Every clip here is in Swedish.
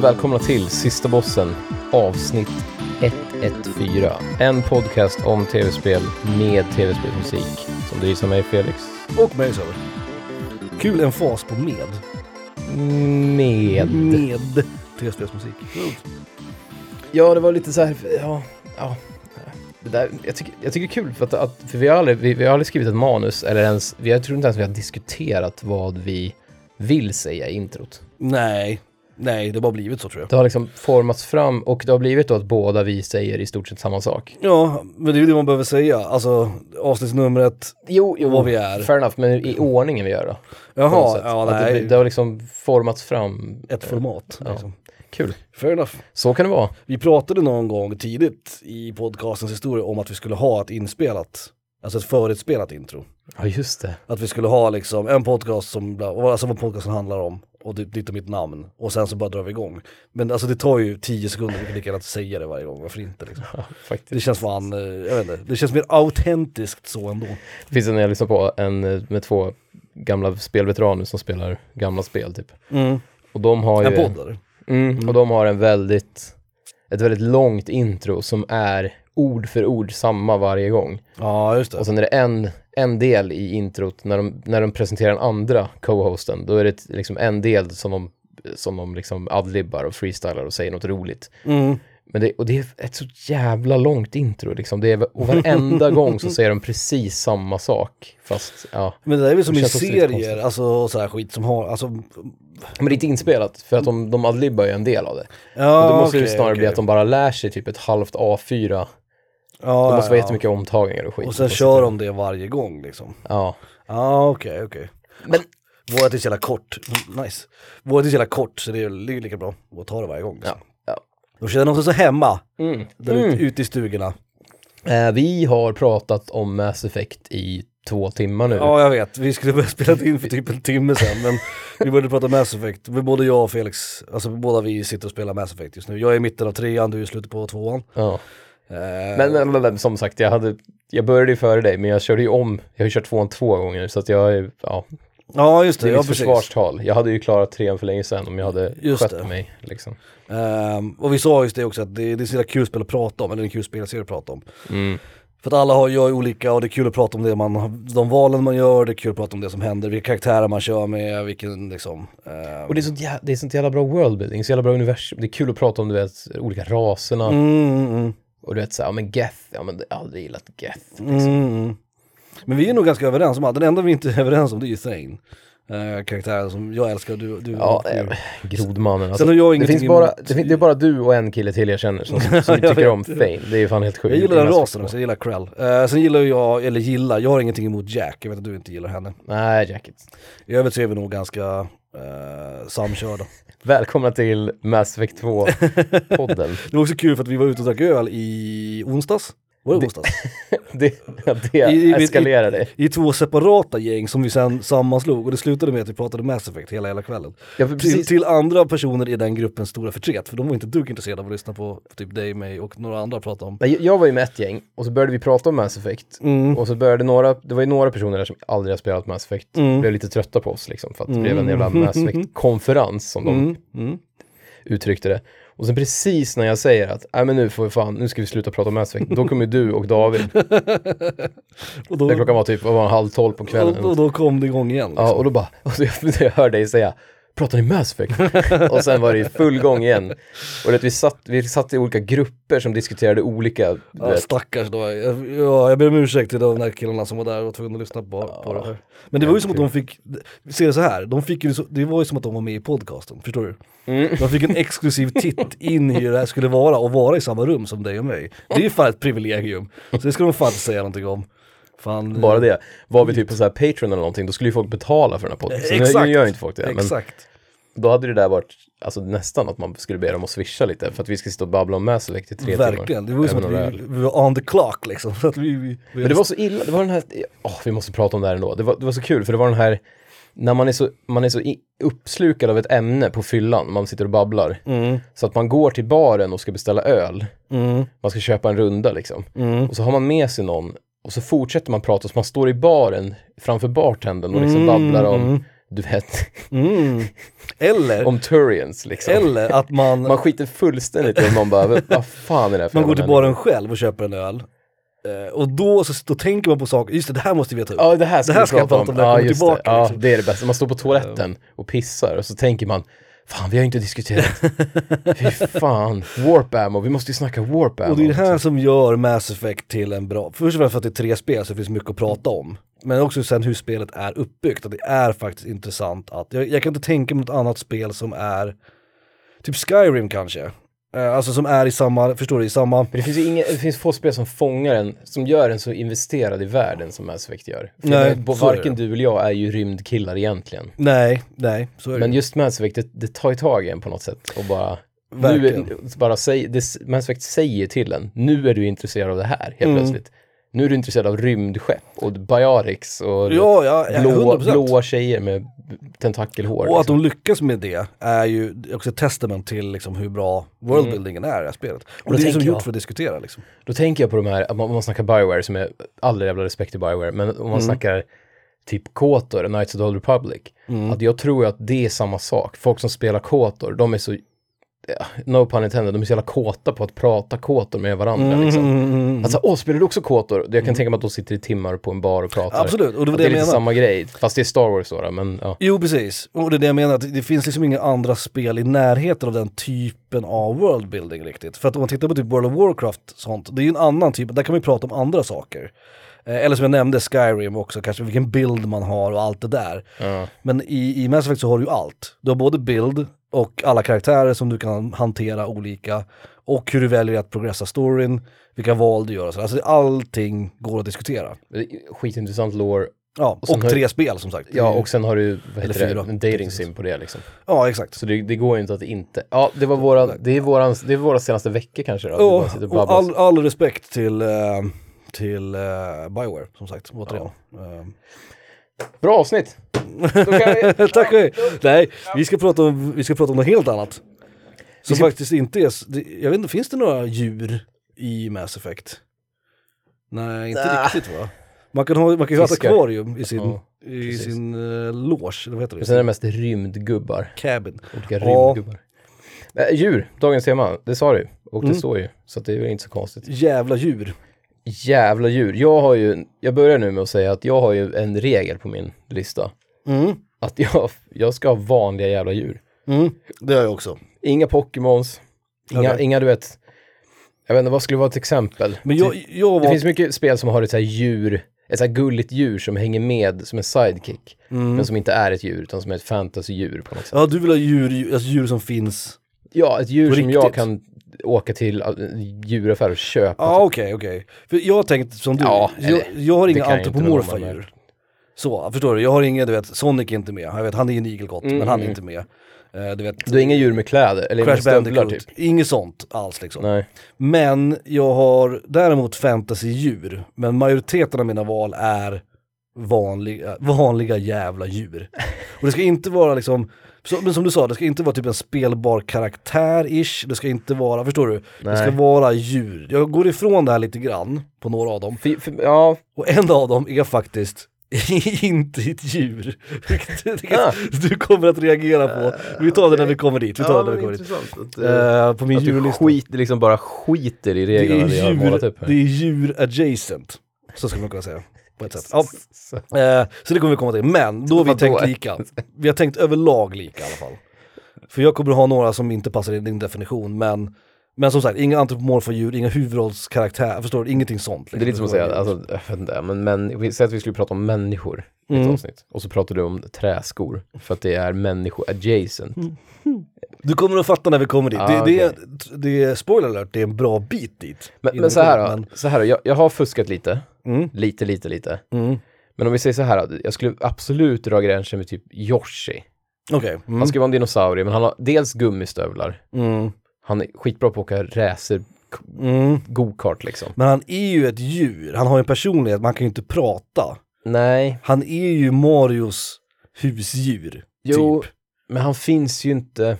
välkomna till Sista Bossen, avsnitt 114. En podcast om tv-spel med tv-spelsmusik. Som drivs av mig, Felix. Och mig Söder. Kul en fas på med. Med... Med tv-spelsmusik. Ja, det var lite så här... Ja, ja. Det där, jag, tycker, jag tycker det är kul, för, att, att, för vi, har aldrig, vi, vi har aldrig skrivit ett manus, eller ens... Vi, jag tror inte ens vi har diskuterat vad vi vill säga i introt. Nej, nej det har bara blivit så tror jag. Det har liksom formats fram och det har blivit då att båda vi säger i stort sett samma sak. Ja, men det är ju det man behöver säga. Alltså avsnittsnumret, Jo, vad vi är. Fair enough, men i ordningen vi gör då. på något Jaha, sätt. ja att det, nej. det har liksom formats fram. Ett format. Ja. Liksom. Kul. Fair enough. Så kan det vara. Vi pratade någon gång tidigt i podcastens historia om att vi skulle ha ett inspelat, alltså ett förutspelat intro. Ja, just det. Att vi skulle ha liksom en podcast som, bla- och alltså vad podcasten handlar om och ditt ditt och mitt namn och sen så bara drar vi igång. Men alltså det tar ju tio sekunder, vi kan lika gärna säga det varje gång, varför inte liksom. Ja, Det faktiskt. känns fan, eh, jag vet inte, det känns mer autentiskt så ändå. Det finns en jag lyssnar på, en eh, med två gamla spelveteraner som spelar gamla spel typ. Mm. Och de har ju... En podd eller? Mm, och de har en väldigt, ett väldigt långt intro som är ord för ord samma varje gång. Ja just det. Och sen är det en, en del i introt, när de, när de presenterar den andra co-hosten, då är det ett- liksom en del som de, som de liksom adlibbar och freestylar och säger något roligt. Mm. Men det, och det är ett så jävla långt intro liksom. Det är, och varenda gång så säger de precis samma sak. Fast, ja. Men det där är väl som Det i känns också lite serier, konstigt. alltså och så här skit som har, alltså, Men det är inte inspelat, för att de, de adlibbar ju en del av det. ja och då måste det Ah, okej, ju snarare okej. bli att de bara lär sig typ ett halvt A4. ja, Det måste vara Ah, ja, ja. jättemycket omtagningar och skit. Och sen kör de det varje gång liksom. Ja. Ja okej, okej. Men Vårat är så jävla kort, Mm, nice. Vårat är så jävla kort så det är det är lika bra att ta det varje gång. Liksom. ja. De känner sig så hemma, Mm. där ute, ute i stugorna. Eh, vi har pratat om Mass Effect i två timmar nu. Ja jag vet, vi skulle börja spela in för typ en timme sedan men vi började prata Mass Effect. Vi- Både jag och Felix, alltså båda vi sitter och spelar Mass Effect just nu. Jag är i mitten av trean, du är i slutet på tvåan. Ja. Eh, Men, men, men, men som sagt, jag, hade, jag började ju före dig, men jag körde ju om. Jag har ju kört tvåan två gånger nu, så att jag är, ja, ja just det det, är ja mitt precis. försvarstal. Jag hade ju klarat trean för länge sedan om jag hade Just skött det. mig. Liksom. Ehm, och vi sa just det också att det, det är så jävla kul spel att prata om, eller en kul spelserie att prata om. Mm. För att alla har, gör ju olika och det är kul att prata om det man, de valen man gör, det är kul att prata om det som händer, vilka karaktärer man kör med, vilken liksom... ehm, Och det är, sånt jävla, det är sånt jävla bra worldbuilding, så jävla bra universum. Det är kul att prata om, du vet, olika raserna. mm, mm, mm, Och du vet så här, ja, men Geth, ja men jag har aldrig gillat Geth. mm, mm. Men vi är nog ganska överens om allt, den enda vi inte är överens om det är ju Thane. Eh, karaktären som jag älskar och du... du Ja, du- eh, grodmannen. Alltså, Sen har jag det, ingenting finns bara, emot- det, fin- det är bara du och en kille till jag känner som, som Jag tycker vet. om Thane. Det är ju fan helt sjukt. jag gillar Det är den nästan- rasen också, jag gillar Krell. Eh, sen gillar ju jag, eller gillar, jag har ingenting emot Jack, jag vet att du inte gillar henne. Nej, Jacket. I övrigt så är vi nog ganska eh, samkörda. Välkomna till Mass Effect 2-podden. Det var också kul för att vi var ute och drack öl i onsdags. Var det Det- onsdags? det det I- i- eskalerade. i två separata gäng som vi sen sammanslog och det slutade med att vi pratade Mass Effect hela hela kvällen. Ja, för Till, precis, till andra personer i den gruppen stora förtret, för de var inte ett dugg intresserade av att lyssna på typ dig, mig och några andra prata om. Nej, jag var ju med ett gäng och så började vi prata om Mass Effect. Mm. Och så började några, det var ju några personer där som aldrig har spelat Mass Effect, Mm. blev lite trötta på oss liksom för att det blev en jävla Mass Effect-konferens som de Mm. Mm. uttryckte det. Och sen precis när jag säger att, nej men nu får vi fan, nu ska vi sluta prata om Mass Effect, då kommer ju du och David, Och, då, där klockan var typ, vad var det, halv tolv på kvällen. och, och då kom det igång igen. Ja, och då bara, och jag, jag hör dig säga, pratar ni Mass Effect? och sen var det i full gång igen. Och det, vi, satt, vi satt i olika grupper som diskuterade olika, du Ja, vet, stackars då. Jag, ja, jag ber om ursäkt till de där killarna som var där och var tvungna att lyssna på, på det här. Men det var ju som att de fick, se det så här, de fick ju, så- det var ju som att de var med i podcasten, förstår du? Mm. De fick en exklusiv titt in i hur det här skulle vara och vara i samma rum som dig och mig. Det är ju fan ett privilegium, så det ska de fan inte säga någonting om. Fan, bara det. Var vi typ på så här Patreon eller någonting, då skulle ju folk betala för den här podden. Så nu, Exakt. nu gör inte folk det. Men Exakt. då hade det där varit, alltså nästan att man skulle be dem att swisha lite, för att vi ska sitta och babbla om Mass Effect i tre timmar. Verkligen, det var ju som Även om att det vi, vi var on the clock liksom. Så att vi, vi, vi Men det var så illa, det var den här, åh, vi måste prata om det här ändå. Det var, det var så kul, för det var den här, när man är så, man är så i, uppslukad av ett ämne på fyllan, man sitter och babblar, Mm. så att man går till baren och ska beställa öl, man ska köpa en runda liksom, Mm. och så har man med sig Mm. någon, och så fortsätter man prata, så man står i baren framför bartendern och liksom babblar om du vet, Eller, om Turians liksom. eller att man, Man skiter fullständigt i om någon bara, vad fan är det här för man går jävla till baren själv och köper en öl. Eh, och då, så, då tänker man på saker, just det, det här måste vi ta upp. Ja, det här ska, Det här vi ska jag prata om när jag kommer just tillbaka, Det. Ja, liksom. det är det bästa. Man står på toaletten och pissar och så tänker man, fan vi har ju inte diskuterat. Fy fan, Warp Ammo, vi måste ju snacka Warp Ammo. Och det är det här som gör Mass Effect till en bra, först och främst för att det är tre spel så det finns mycket att prata om. Men också sen hur spelet är uppbyggt, att det är faktiskt intressant att, jag, jag kan inte tänka mig något annat spel som är, typ Skyrim kanske. Eh, Alltså som är i samma, förstår du, i samma... Men det finns ju inga, det finns få spel som fångar en, som gör en så investerad i världen som Mass Effect gör. För Nej, det- bo- så är det. varken du eller jag är ju rymdkillar egentligen. Nej, nej, så är det Men ju. just Mass Effect, det, det tar ju tag i en på något sätt och bara... Nu, Verkligen. bara säg, det, Mass Effect säger till en, nu är du intresserad av det här helt Mm. plötsligt. Nu är du intresserad av rymdskepp och Biotics och Ja, ja, ja, blå, 100%. blåa tjejer med tentakelhår. Och att Liksom. de lyckas med det är ju också ett testament till liksom hur bra worldbuildingen är i det här spelet. Och det är ju som tänker gjort jag- för att diskutera liksom. Då tänker jag på de här, om man, om man snackar Bioware, som är all jävla respekt till Bioware, men om man Mm. snackar typ Kotor, Knights of the Old Republic, Mm. att jag tror ju att det är samma sak. Folk som spelar Kotor, de är så, ja, no pun intended, de är så jävla kåta på att prata Kotor med varandra. Mm. Liksom. Alltså, åh, spelar du också Kotor? Jag kan tänka mig att de sitter i timmar på en bar och pratar. Absolut, och det Att var det det är jag lite menade. samma grej, fast det är Star Wars då, då men ja. Jo, precis. Och det är det jag menar, att det finns liksom inga andra spel i närheten av den typen av worldbuilding riktigt. För att om man tittar på typ World of Warcraft och sånt, det är ju en annan typ, där kan man ju prata om andra saker. Eh, Eller som jag nämnde, Skyrim också, kanske vilken bild man har och allt det där. Men i, i Mass Effect så har du ju allt. Du har både bild och alla karaktärer som du kan hantera olika och hur du väljer att progressa storyn, vilka val du gör och sådär. Alltså allting går att diskutera. Det är Skitintressant lore. Ja, och, sen har- tre spel som sagt. Ja, och sen har du, vad heter Mm. fyra. det, en dating sim på det liksom. ja exakt. Så det, det går ju inte att inte... Ja, det var våra, det är våran, det är våra senaste veckor kanske då. att vi bara Ja, sitter och och babblar. all, all respekt till, eh, till eh, Bioware, som sagt. Återigen. Bra avsnitt! Då kan vi... Eh, Tack! hej. Nej, vi ska, prata om, vi ska prata om något helt annat. Som faktiskt inte är... s- det- Jag vet inte, finns det några djur i Mass Effect? Nej, inte Nä. riktigt va? Man kan ha, man kan ju ha ett Fiskar. akvarium i sin, Ja, i precis. sin uh, loge, eller vad heter Sen är det det? mest rymdgubbar. Cabin. Olika Ja. rymdgubbar. Nej, djur, dagens tema. Det sa du Och Mm. det står ju. Så att det är väl inte så konstigt. Jävla djur. Jävla djur. Jag har ju... Jag börjar nu med att säga att jag har ju en regel på min lista. Mm. Att jag, jag ska ha vanliga jävla djur. Mm. Det har jag också. Inga Pokémons. Inga, Okej. inga, du vet... Jag vet inte, vad skulle vara ett exempel? Men jag, jag Det var... finns mycket spel som har ett så här djur, ett så här gulligt djur som hänger med som en sidekick. Men som inte är ett djur, utan som är ett fantasydjur på något sätt. Ja, du vill ha djur, djur- alltså djur som finns Ja, ett djur På som jag riktigt? kan åka till äh, en djuraffär och köpa. Ja, okej, okej. För jag har tänkt som du, Alltså- Ja, jag, eller, jag har det inga kan jag inte antropomorfa bedöma, men- djur. Så, förstår du? Jag har inga, du vet, Sonic är inte med. Jag vet, han är ju en igelkott, men han är inte med. Eh, du vet, Mm. Du har inga djur med kläder, eller med Crash stövlar Bandicoot, typ. inget sånt alls liksom. Nej. Men jag har däremot fantasydjur, men majoriteten av mina val är vanliga, vanliga jävla djur. Och det ska inte vara liksom, så, men som du sa, det ska inte vara typ en spelbar karaktär-ish, det ska inte vara, förstår du? Det ska Nej. vara djur. Jag går ifrån det här lite grann på några av dem, För, för, ja, och en av dem är faktiskt inte ett djur. Vilket Ah. Du kommer att reagera på. Vi tar det när vi kommer dit. Vi tar det när vi kommer dit. intressant. Eh, på min att du djurlista. skit, liksom bara skiter i Det reglerna är, vi har målat djur, upp det här. är djur adjacent. Så skulle man kunna säga. På ett sätt. Ja. Eh, så det kommer vi komma till. Men då har vi Vadå? tänkt lika. Vi har tänkt överlag lika i alla fall. För jag kommer ha några som inte passar in i din definition. Men, men som sagt, inga antropomorfa djur, inga huvudrollskaraktärer, förstår du? Ingenting sånt. liksom. Det är lite som att säga, alltså, jag vet inte, men, men vi säger att vi skulle prata om människor i Mm. ett avsnitt. Och så pratar du om träskor, för att det är människo-adjacent. Mm. Du kommer att fatta när vi kommer dit. Ah, det, det, är, det är, spoiler alert, det är en bra bit dit. Men, Innan men vi så kommer här dit, då, så här då jag, jag har fuskat lite. Mm. Lite, lite, lite. men- Mm. Men om vi säger så här, då, jag skulle absolut dra gränsen med typ Yoshi. Okej. Mm. Han ska vara en dinosaurie, men han har dels gummistövlar, Mm. han är skitbra på att åka racer, k- Mm. go-kart liksom. Men han är ju ett djur, han har ju en personlighet, man kan ju inte prata. Nej, Han är ju Marios husdjur. jo, Typ. men han finns ju inte.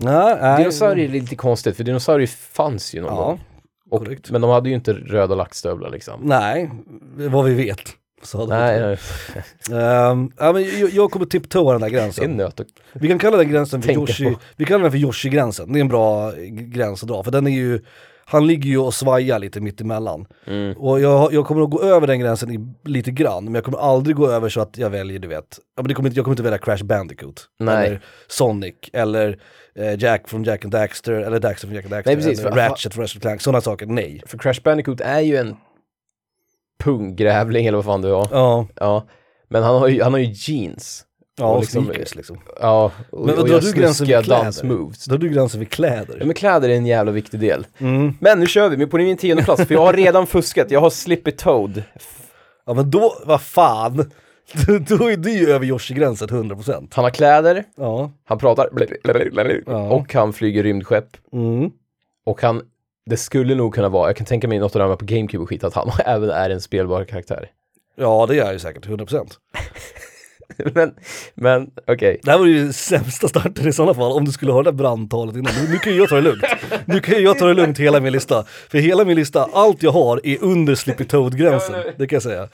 Nej, nej. Dinosaurier är lite konstigt, för dinosaurier fanns ju någon Ja, gång. Och, korrekt. men de hade ju inte röda laxstövlar liksom. Nej, vad vi vet. Så hade Nej, vi- nej. Ehm, ja, men jag, jag kommer tipptoa den där det är gränsen. nöt att Vi kan kalla den gränsen för Tänka Yoshi, på. vi kallar den för Yoshi-gränsen. Det är en bra eh, gräns att dra, för den är ju, han ligger ju och svajar lite mittemellan. Mm. Och jag, jag kommer att gå över den gränsen i, lite grann, men jag kommer aldrig gå över så att jag väljer, du vet, ja, men det kommer inte, jag kommer inte välja Crash Bandicoot, Nej. eller Sonic, eller eh, Jack från Jack and Daxter, eller Daxter från Jack and Daxter, Nej, precis, eller för- Ratchet från Ratchet and Clank, sådana saker, nej. För Crash Bandicoot är ju en punggrävling eller vad fan det var. Ja, Ja. Men han har ju, han har ju jeans. ja Och och liksom- sneakers liksom. Ja, och, Men vad och drar gör du gränsen snuskiga vid kläder? dansmoves. Så då är du gränsen vid Ja, kläder. men kläder är en jävla viktig del. Mm. Men nu kör vi, men på min tionde plats, för jag har redan fuskat. Jag har Slippy Toad. Ja men då, vad fan, då är du ju över Yoshi-gränsen 100%. Han har kläder, Ja. han pratar blä, blä, blä, blä, blä, Ja. och han flyger rymdskepp. Mm. Och han, det skulle nog kunna vara, jag kan tänka mig något av det här med på GameCube och skit, att han även är en spelbar karaktär. Ja det är jag ju säkert, 100%. men, men okej. Det här var ju sämsta starten i sådana fall, om du skulle ha det där brandtalet innan. Nu- Nu kan ju jag ta det lugnt. Nu kan ju jag ta det lugnt hela min lista. För hela min lista, allt jag har är under Slippy Toad-gränsen, det kan jag säga.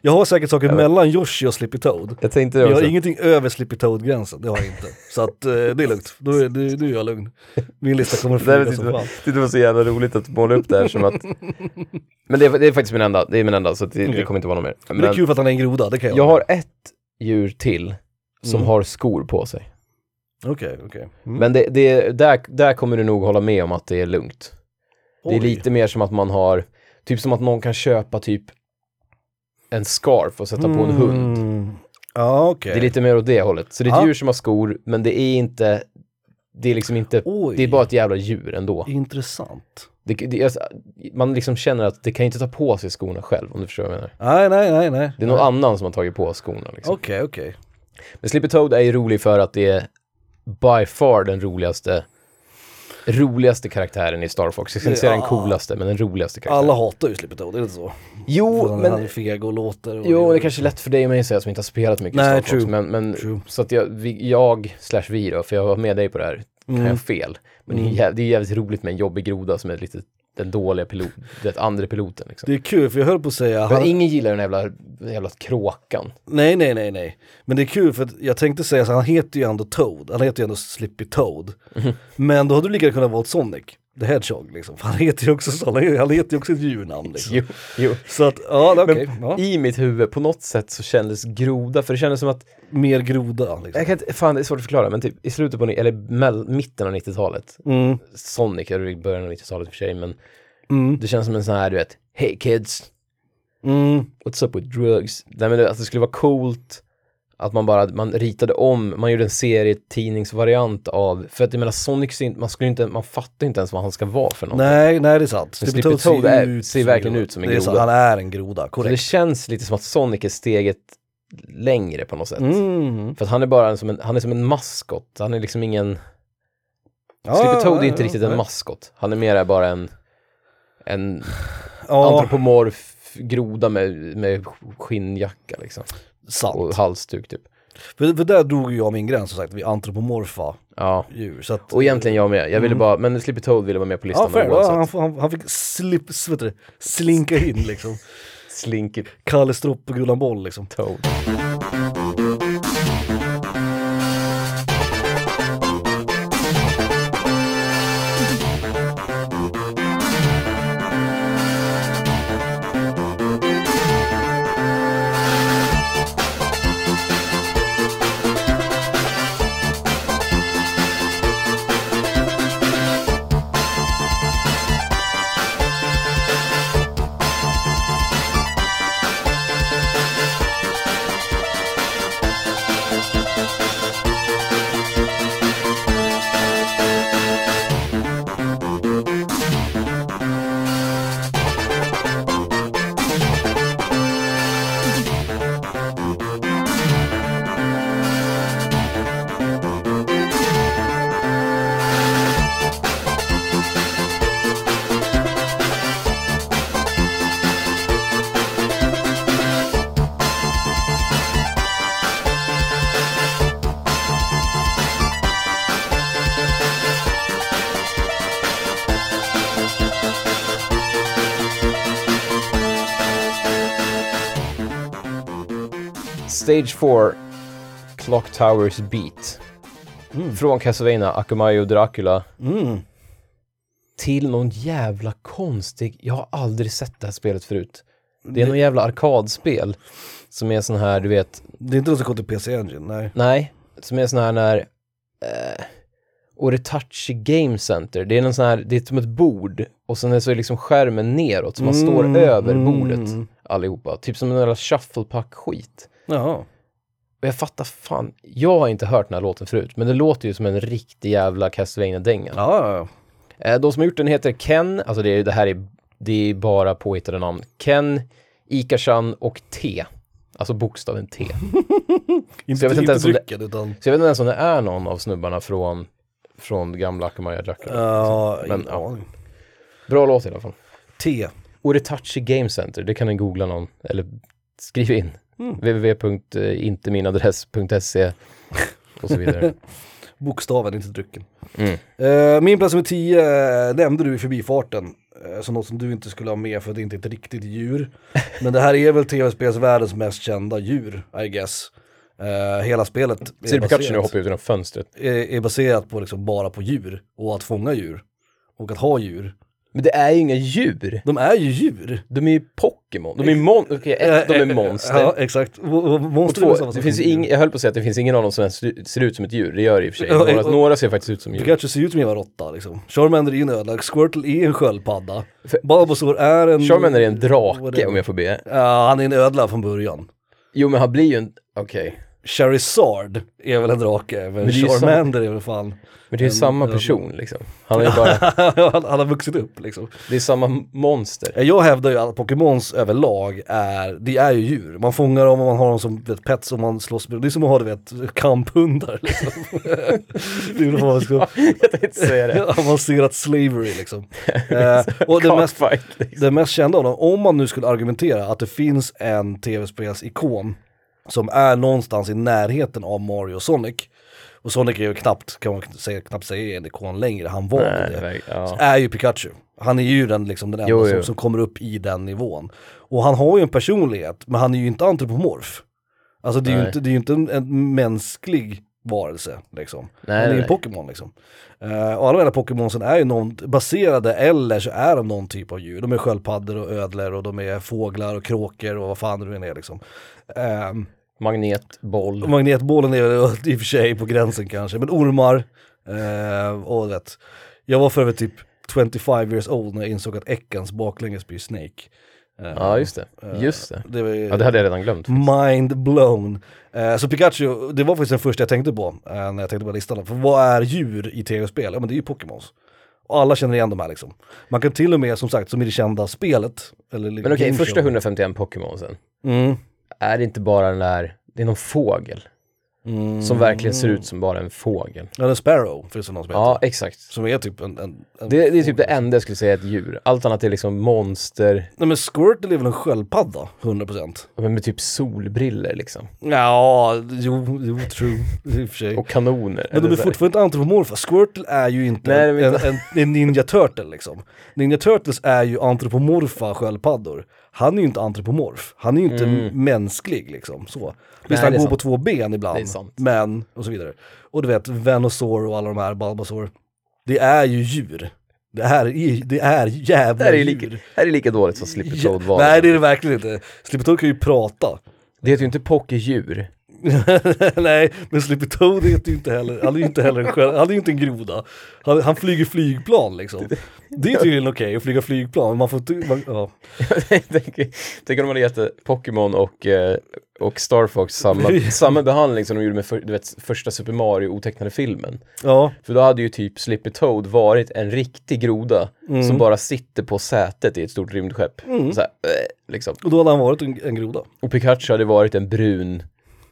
Jag har säkert saker mellan Yoshi och Slippy Toad. Jag tänkte det Jag har också. ingenting över Slippy Toad-gränsen, det har jag inte. Så att eh, det är lugnt, då är, då, då är jag lugn. Min lista kommer att Det, här, typ- tyckte flyga som det, var, fan. tyckte det var så jävla roligt att måla upp det här som att... Men det är, det är faktiskt min enda, det är min enda, så att det, det Okej. kommer inte vara något mer. Men det är Men kul för att han är en groda, det kan jag. jag har ett djur till som har skor på sig. Okej, okej. Mm. Men det, det, där, där kommer du nog hålla med om att det är lugnt. Det är Oj. lite mer som att man har, typ som att någon kan köpa typ en scarf och sätta på en hund. Mm. Ja, okej. Det är lite mer åt det hållet. Så det är ett Ja. djur som har skor, men det är inte, det är liksom inte, Oj. det är bara ett jävla djur ändå. Intressant. Det, det, alltså, man liksom känner att det kan inte ta på sig skorna själv, om du förstår vad jag menar. Nej, nej, nej, nej. Det är någon annan som har tagit på skorna. Liksom. Okej, okej. Men Slippy Toad är ju rolig för att det är by far den roligaste roligaste karaktären i Star Fox. Jag ska inte säga den Ja. coolaste, men den roligaste karaktären. Alla hatar ju Slippy Toad, är det inte så? Jo, För han men är feg och låter. Och Jo, det kanske är lätt för dig och mig att säga som inte har spelat mycket Nej, Star Fox. true. Men, men True. så att jag, vi, jag slash vi då, för jag var med dig på det här, kan Mm. jag ha fel. Men det, är jäv, det är jävligt roligt med en jobbig groda som är lite den dåliga pilot, den andra piloten liksom. Det är kul, för jag höll på att säga... Men Han... ingen gillar den jävla, den jävla kråkan. Nej, nej, nej, nej. Men det är kul, för att jag tänkte säga så han heter ju ändå Toad. Han heter ju ändå Slippy Toad. Mhm. Men då hade du lika gärna kunnat valt Sonic, The Hedgehog, liksom. För han heter ju också så, han heter ju också ett djurnamn, liksom. Jo, jo. Så att, ja, okej. Men Ja. i mitt huvud, på något sätt så kändes groda, för det kändes som att, Mer groda, liksom. jag kan inte, fan det är svårt att förklara, men typ i slutet på, ni- eller mell, mitten av 90-talet, Mm. Sonic, eller i början av 90-talet i och för sig, men Mm. det känns som en sån här, du vet, hey kids, Mm. what's up with drugs? Nej men det- att det skulle vara coolt att man bara, man ritade om, man gjorde en serietidningsvariant av, för att jag menar Sonic, ser inte- man skulle inte, man fattar inte ens vad han ska vara för någonting. Nej, nej det är sant. Men Slippy Toad är- ser som verkligen en groda. ut som en Det är groda. sant, Han är en groda, Så det korrekt. känns lite som att Sonic är steget längre på något sätt. Mm. För att han är bara en, som en, han är som en maskot, han är liksom ingen, Ja, Slippy Toad ja, är inte ja, riktigt nej. en maskot, han är mera bara en, en Ja, antropomorf groda med, med skinnjacka liksom. sant. Och halsduk typ. För, för där drog ju jag min gräns som sagt, vi är antropomorfa Ja. djur. Så att, Och egentligen jag med. Jag ville bara, men Slippy Toad ville vara med på listan Mm. ja, fair, oavsett. han, han, han fick slip, vet du, slinka in liksom. Slinky Kalle Stropp och Gullan Boll liksom. Toad. Stage 4, Clock Towers Beat. Från Castlevania, Akumayo Dracula. Mm. Till någon jävla konstig, jag har aldrig sett det här spelet förut. Det är någon jävla arkadspel. Som är sån här, du vet, Det är inte något som går till PC Engine, nej. Nej, som är sån här när... Eh, Oretachi Game Center. Det är någon sån här, det är som ett bord och sen är så är liksom skärmen neråt så man Mm, står över mm. bordet allihopa. Typ som en jävla shufflepack-skit. Jaha. Och jag fattar fan, jag har inte hört den här låten förut, men det låter ju som en riktig jävla Castlevania-dänga. Ja, ja, Eh, de som har gjort den heter Ken, alltså det, är, det här är, det är bara påhittade namn. Ken, Ika-chan och T. Alltså bokstaven T. Inte, Så jag vet inte inte ens om det- drycken, utan... Så jag vet inte ens om det är någon av snubbarna från, från gamla Akamaya Dracula. Ja, Men, ingen ja. aning. Bra låt i alla fall. T. Oretachi Game Center, det kan ni googla någon, eller skriv in. Mm. eh, www.inteminadress.se och så vidare. Bokstaven, inte drycken. Mm. Eh, min plats nummer 10 eh, nämnde du i förbifarten. eh, Som något som du inte skulle ha med för det är inte ett riktigt djur. Men det här är väl tv-spelsvärldens mest kända djur, I guess. Eh, hela spelet är Ser du Pikachu nu baserat- hoppa ut genom fönstret? är, är baserat på liksom bara på djur och att fånga djur. Och att ha djur. Men det är ju inga djur! De är ju djur. Eh, De är ju Pokémon. De är mon... Okej, ett, de är monster. Ja, exakt. Och- och Och Monster är väl två, samma det sak finns som ju ing, djur. jag höll på att säga att det finns ingen av dem som ens ser- ser ut som ett djur. Det gör det i och för sig. Ja, Några, och- några ser faktiskt ut som djur. Pikachu ser ju ut som en jävla råtta liksom. Charmander är ju en ödla, Squirtle är en sköldpadda. Bulbasaur är en... Charmander är en drake Whatever. om jag får be. Ja, han är en ödla från början. Jo men han blir ju en... Okej. Charizard är väl en drake, men det är ju Charmander är väl fan... Men det är ju samma person liksom. Han är ju bara... han, han har vuxit upp liksom. Det är samma monster. Jag hävdar ju att Pokémons överlag är, det är ju djur. Man fångar dem och man har dem som vet, pets och man slåss med dem. Det är som att ha du vet, kamphundar liksom. det är väl vad man ska, jag tänkte säga det. avancerat slavery liksom. Eh, och det mest, Cockfight, liksom. det mest kända av dem, om man nu skulle argumentera att det finns en tv-spelsikon som är någonstans i närheten av Mario och Sonic, och Sonic är ju knappt, kan man säga, knappt säga en ikon längre, han var Nej, det det verkar- ja. så är ju Pikachu. Han är ju den, liksom, den enda Jo, som, jo. som kommer upp i den nivån. Och han har ju en personlighet, men han är ju inte antropomorf. Alltså det är ju Nej. inte, det är ju inte en, en mänsklig varelse liksom. Nej, han är ju en nej. Pokémon liksom. Eh, och alla de här Pokémonsen är ju någon, baserade eller så är de någon typ av djur. De är sköldpaddor och ödlor och de är fåglar och kråkor och vad fan det nu än är liksom. Ehm, Magnet, och boll. Magnetbollen är väl i och för sig på gränsen kanske, men ormar eh, och vet. Jag var för övrigt typ 25 years old när jag insåg att äckans baklänges blir Snake. Eh, Ja, just det. Just det. det var ju Ja, det hade jag redan glömt. mind blown. Eh, så Pikachu, det var faktiskt den första jag tänkte på eh, när jag tänkte på listan. För vad är djur i tv-spel? Ja men det är ju Pokémons. Och alla känner igen de här liksom. Man kan till och med, som sagt, som i det kända spelet. Eller Men okej, gameshow. första 151 Pokémonsen. Mm. Är det inte bara den där, det är någon fågel. Mm. Som verkligen ser ut som bara en fågel. Eller Sparrow, finns det någon som heter. Ja, exakt. Som är typ en... en, en Det, det är typ det enda jag skulle säga är ett djur. Allt annat är liksom monster, Nej men Squirtle är väl en sköldpadda, 100%? men med typ solbriller liksom. Ja, jo, jo true, i och för sig. Och kanoner. men de är fortfarande inte antropomorfa, Squirtle är ju inte, Nej, de är en, en, en Ninja Turtle liksom. Ninja Turtles är ju antropomorfa sköldpaddor. Han är ju inte antropomorf, han är ju inte mänsklig liksom. Så. Visst, han Mm. det är går på sant. två ben ibland, Det är sant. men, och så vidare. Och du vet, Venosaur och alla de här, Bulbasaur. Det är ju djur. Det här är, det är jävla det här är, ju djur. lika, det här är lika dåligt som Slipper Toad var. Nej det är det verkligen inte. Slippetoad kan ju prata. Det heter ju inte Pokédjur. Nej, men Slippetoad heter ju inte heller, han är ju inte heller en själv, han är ju inte en groda. Han, han flyger flygplan liksom. Det är tydligen okej att flyga flygplan, men man får inte, man, ja. Tänk tänk om de hade gett eh, Pokémon och, eh, och Star Fox samma, samma behandling som de gjorde med för, du vet, första Super Mario-otecknade filmen. ja. För då hade ju typ Slippy Toad varit en riktig groda Mm. som bara sitter på sätet i ett stort rymdskepp. Så här, eh, liksom. Och då hade han varit en, en groda. Och Pikachu hade varit en brun,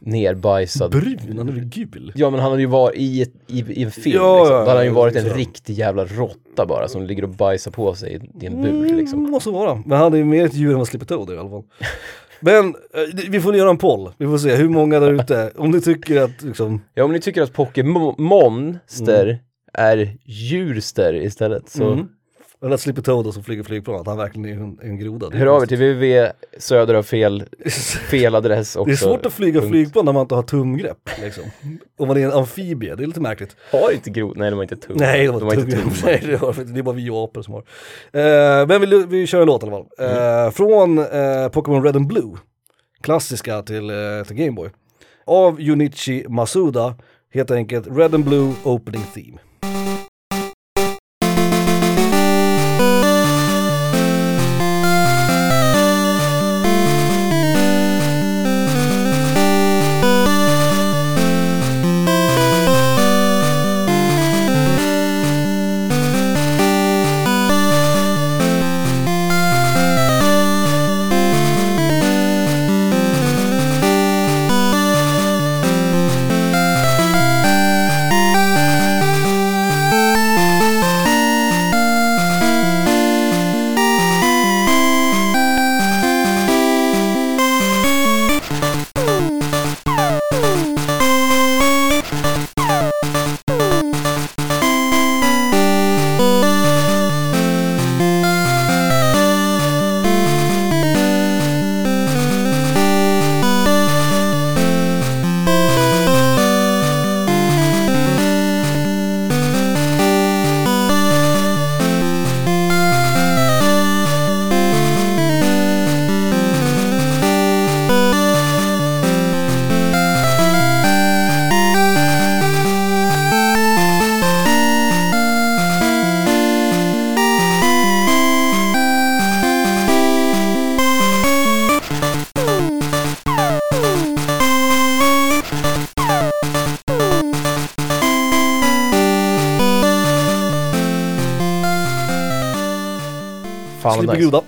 nerbajsad... Brun, han är väl gul? ja men han hade ju varit i, ett, i, i en film, Ja, liksom. ja, då hade han ju ja, varit en precis. riktig jävla råtta bara som ligger och bajsar på sig i, i en bur liksom. Mm, måste vara, men han är ju mer ett djur än vad Slippetoad är i alla fall. Men eh, vi får göra en poll, vi får se hur många där ute, om ni tycker att liksom, Ja, om ni tycker att Pokémonster är djurster istället så... Mm. Eller att Slippy Toad då som flyger flygplan, att han verkligen är en, en groda. Det är Hör av er konstigt. till www söder av fel, fel adress också. Det är svårt att flyga Punkt. flygplan när man inte har tumgrepp. Liksom. Om man är en amfibie, det är lite märkligt. Har inte grod... Nej, de har inte tum. Nej, det var de har inte tungt. tum. Nej, det, var, det är bara vi och apor som har. Eh, men vi, vi kör en låt i alla fall. Eh, Mm. Från eh, Pokémon Red and Blue, klassiska till, eh, till Gameboy. Av Junichi Masuda, helt enkelt Red and Blue Opening Theme. Fan vad Slipper nice. groda.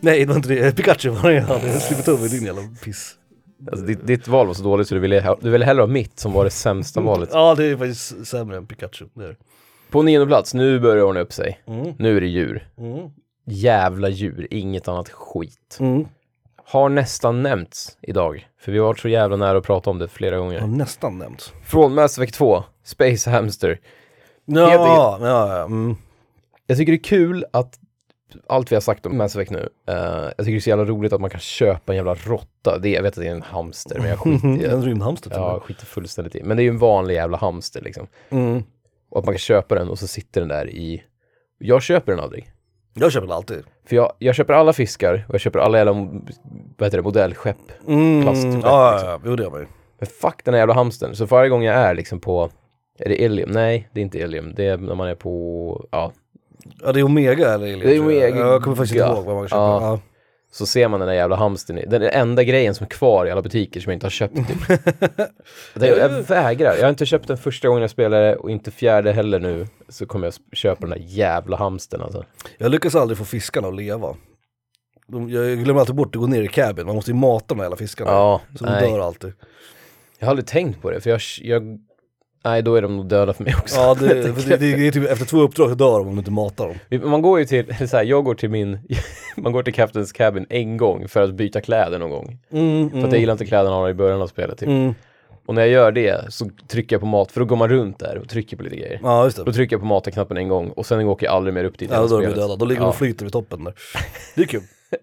Nej, det var inte det. Eh, Pikachu var det. Han hade slipper tummen, din jävla piss. Alltså, ditt, ditt val var så dåligt så du ville, ha- du ville hellre ha mitt som var det sämsta valet. Ja, det är faktiskt sämre än Pikachu. Det är. På nionde plats, nu börjar det ordna upp sig. det. Mm. Nu är det djur. Mm. Jävla djur, inget annat skit. Mm. Har nästan nämnts idag, för vi har varit så jävla nära att prata om det flera Jag har gånger. nästan nämnt. Från Mass Effect 2, Space Hamster. Ja, enkelt. ja, ja. Mm. Jag tycker det är kul att allt vi har sagt om Mass Effect nu, eh, jag tycker det är så jävla roligt att man kan köpa en jävla råtta. Det, jag vet att det är en hamster, men jag skiter i En det. rymdhamster tror Ja, jag jag. skiter fullständigt i. Men det är ju en vanlig jävla hamster liksom. Mm. Och att man kan köpa den och så sitter den där i... Jag köper den aldrig. Jag köper den alltid. För jag, jag köper alla fiskar och jag köper alla jävla vad heter det, modellskepp. Mm. Plastskepp, Ja, ja, liksom. ja, jo det gör man ju. Men fuck den här jävla hamstern. Så varje gång jag är liksom på... Är det Ilium? Nej, det är inte Ilium. Det är när man är på... Ja. Ja det är Omega eller Alien, Det är tror jag. Omega. Jag kommer faktiskt inte ihåg vad man köper. Ja. Ja. Så ser man den där jävla hamstern. i- Den är enda grejen som är kvar i alla butiker som jag inte har köpt. Typ. det, jag vägrar. Jag har inte köpt den första gången jag spelade och inte fjärde heller nu. Så kommer jag sp- köpa den där jävla hamstern alltså. Jag lyckas aldrig få fiskarna att leva. De, jag glömmer alltid bort att gå ner i cabin, man måste ju mata de här jävla fiskarna. Ja, så de nej. dör alltid. Jag har aldrig tänkt på det för jag... jag nej, då är de nog döda för mig också. Ja, det, för det, det, det är typ efter två uppdrag så dör de om du inte matar dem. Vi- Man går ju till, eller så här, jag går till min, man går till Captain's Cabin en gång för att byta kläder någon gång. För att jag gillar inte kläderna jag har i början av spelet typ. Mm. Och när jag gör det så trycker jag på mat, för då går man runt där och trycker på lite grejer. Ja just Då det. trycker jag på matknappen en gång och sen åker jag aldrig mer upp dit i Ja, hela då är de ju spelet. döda, då ligger de Ja. och flyter vid toppen där. Det är kul.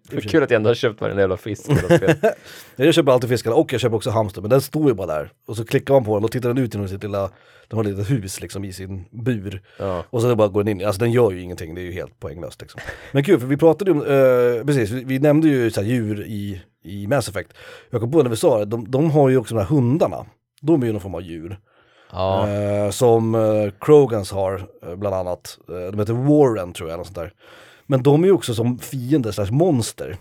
Det är kul att jag ändå har köpt varenda jävla fisk i hela spelet. Jag köper alltid fiskarna och jag köper också hamster, men den står ju bara där. Och så klickar man på den och tittar den ut genom sitt lilla, den har ett litet hus liksom i sin bur. Ja. Och sen bara går den in, alltså den gör ju ingenting, det är ju helt poänglöst liksom. Men kul, för vi pratade ju om, eh, precis, vi, vi nämnde ju så här, djur i, i Mass Effect. Jag kom på när vi sa det, de, de har ju också de här hundarna. De är ju någon form av djur. Ja. Eh, som eh, Krogans har, eh, bland annat. Eh, de heter Warren tror jag, eller något sånt där. Men de är ju också som fiender slash monster.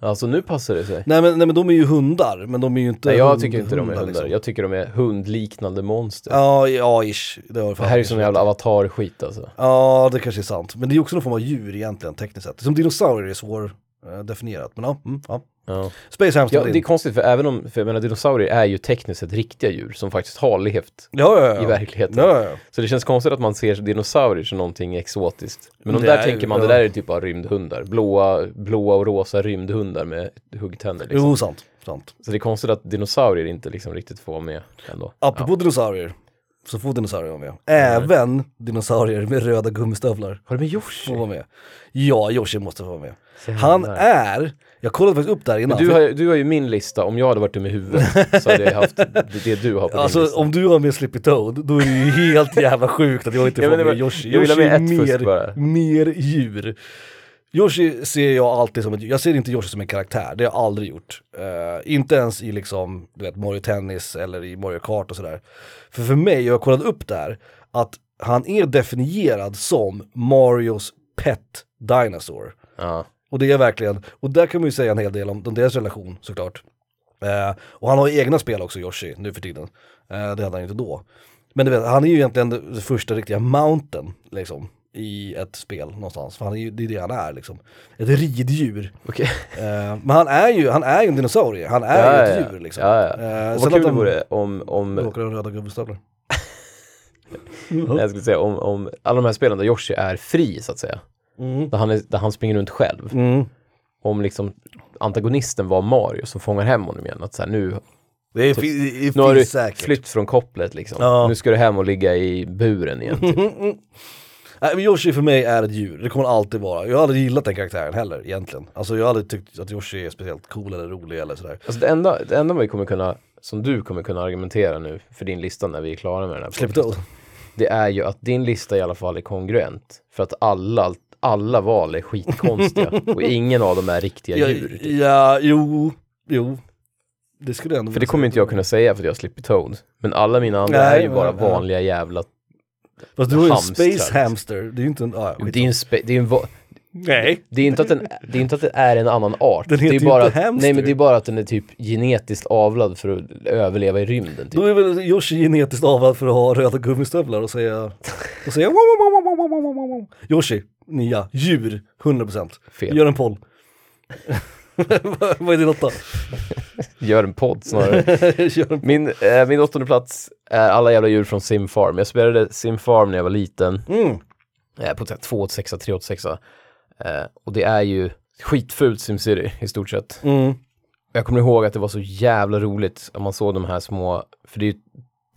Alltså nu passar det sig. Nej men, nej men de är ju hundar, men de är ju inte Nej, jag hund- tycker inte de är hundar. liksom. Jag tycker de är hundliknande monster. Ja, ja ish. Det, var Det här är ju sån jävla avatar-skit alltså. Ja, det kanske är sant. Men det är också någon form av djur egentligen, tekniskt sett. Som dinosaurier är svår eh, definierat, men ja. Mm, ja. Ja. Space Hamster Ja, var det är din. konstigt för även om, för jag menar dinosaurier är ju tekniskt sett riktiga djur som faktiskt har levt ja, ja, ja. i verkligheten. Ja, ja, ja. Så det känns konstigt att man ser dinosaurier som någonting exotiskt. Men de Det där är- tänker man, det ja. där är typ bara rymdhundar. Blåa, blåa och rosa rymdhundar med huggtänder liksom. Jo, sant. sant. Så det är konstigt att dinosaurier inte liksom riktigt får vara med ändå. Apropå dinosaurier. Så får dinosaurier vara med. Även dinosaurier med röda gummistövlar Har du med får Yoshi? vara med. Ja, Yoshi måste få vara med. Jävlar. Han är, jag kollade faktiskt upp det här innan. Du för- har, ju- du har ju min lista, om jag hade varit dum i huvudet så hade jag haft det, det du har på din Alltså lista. om du har med Slippy Toad, då är det ju helt jävla sjukt att jag inte Ja, får men det med var- Yoshi. jag vill ha Yoshi med är ett först bara. mer, mer djur. Yoshi ser jag alltid som, ett, jag ser inte Yoshi som en karaktär, det har jag aldrig gjort. Eh, inte ens i liksom, du vet, Mario Tennis eller i Mario Kart och sådär. För för mig, jag har kollat upp där, att han är definierad som Marios pet dinosaur. Ja. Och det är verkligen, och där kan man ju säga en hel del om, om deras relation såklart. Eh, och han har ju egna spel också, Yoshi, nu för tiden. Eh, det hade han ju inte då. Men du vet, han är ju egentligen den första riktiga mountain, liksom, i ett spel någonstans. För han är ju, det är det han är, liksom. Ett riddjur. Okej. Eh, men han är ju, han är ju en dinosaurie, han är Ja, ju ett ja. djur liksom. Ja, ja. Eh, Och sen Vad att kul det han- vore om, om, Råkar ha röda gubbistövlar. nej, jag skulle säga, om, om alla de här spelen där Yoshi är fri så att säga. Mm. Där han, är, där han springer runt själv. Mm. Om liksom antagonisten var Mario som fångar hem honom igen. Att så här, nu, Det, är, fi- det nu har du finns säkert. flytt från kopplet liksom. Ja. Nu ska du hem och ligga i buren igen. Typ. Nej, men Yoshi för mig är ett djur, det kommer alltid vara. Jag har aldrig gillat den karaktären heller egentligen. Alltså jag har aldrig tyckt att Yoshi är speciellt cool eller rolig eller sådär. Alltså det enda, det enda vi kommer kunna, som du kommer kunna argumentera nu för din lista när vi är klara med den här Släpp podden, Toad. det är ju att din lista i alla fall är kongruent. För att alla, alla val är skitkonstiga och ingen av dem är riktiga Ja, djur. typ. ja, jo, jo. Det skulle jag ändå För det kommer inte jag kunna säga för att jag slipper Toad. Men alla mina andra Nej, är ju men- bara ja. vanliga jävla... Fast du har ju en hamstrar, space liksom. hamster, det är ju inte en... Ah, ja, Det är skit. ju en spe... det är ju en va- Nej. det är inte att den, det är inte att den är en annan art. Den det är heter ju bara inte att, hamster. Nej men det är bara att den är typ genetiskt avlad för att överleva i rymden. Typ. Då är väl Yoshi genetiskt avad för att ha röda gummistövlar och säga... Och säga... "Wow, wow, wow, wow, wow, wow, wow, wow, wow." Yoshi, nia, djur, 100%. Fel. Gör en poll. Vad- Vad är din åtta? Gör en podd snarare. Gör en... Min, eh, min åttonde plats är alla jävla djur från Sim Farm. Jag spelade Sim Farm när jag var liten. Mm. Eh, på 286, 386. Eh, och det är ju skitfult SimCity i stort sett. Mm. Jag kommer ihåg att det var så jävla roligt när man såg de här små, för det är ju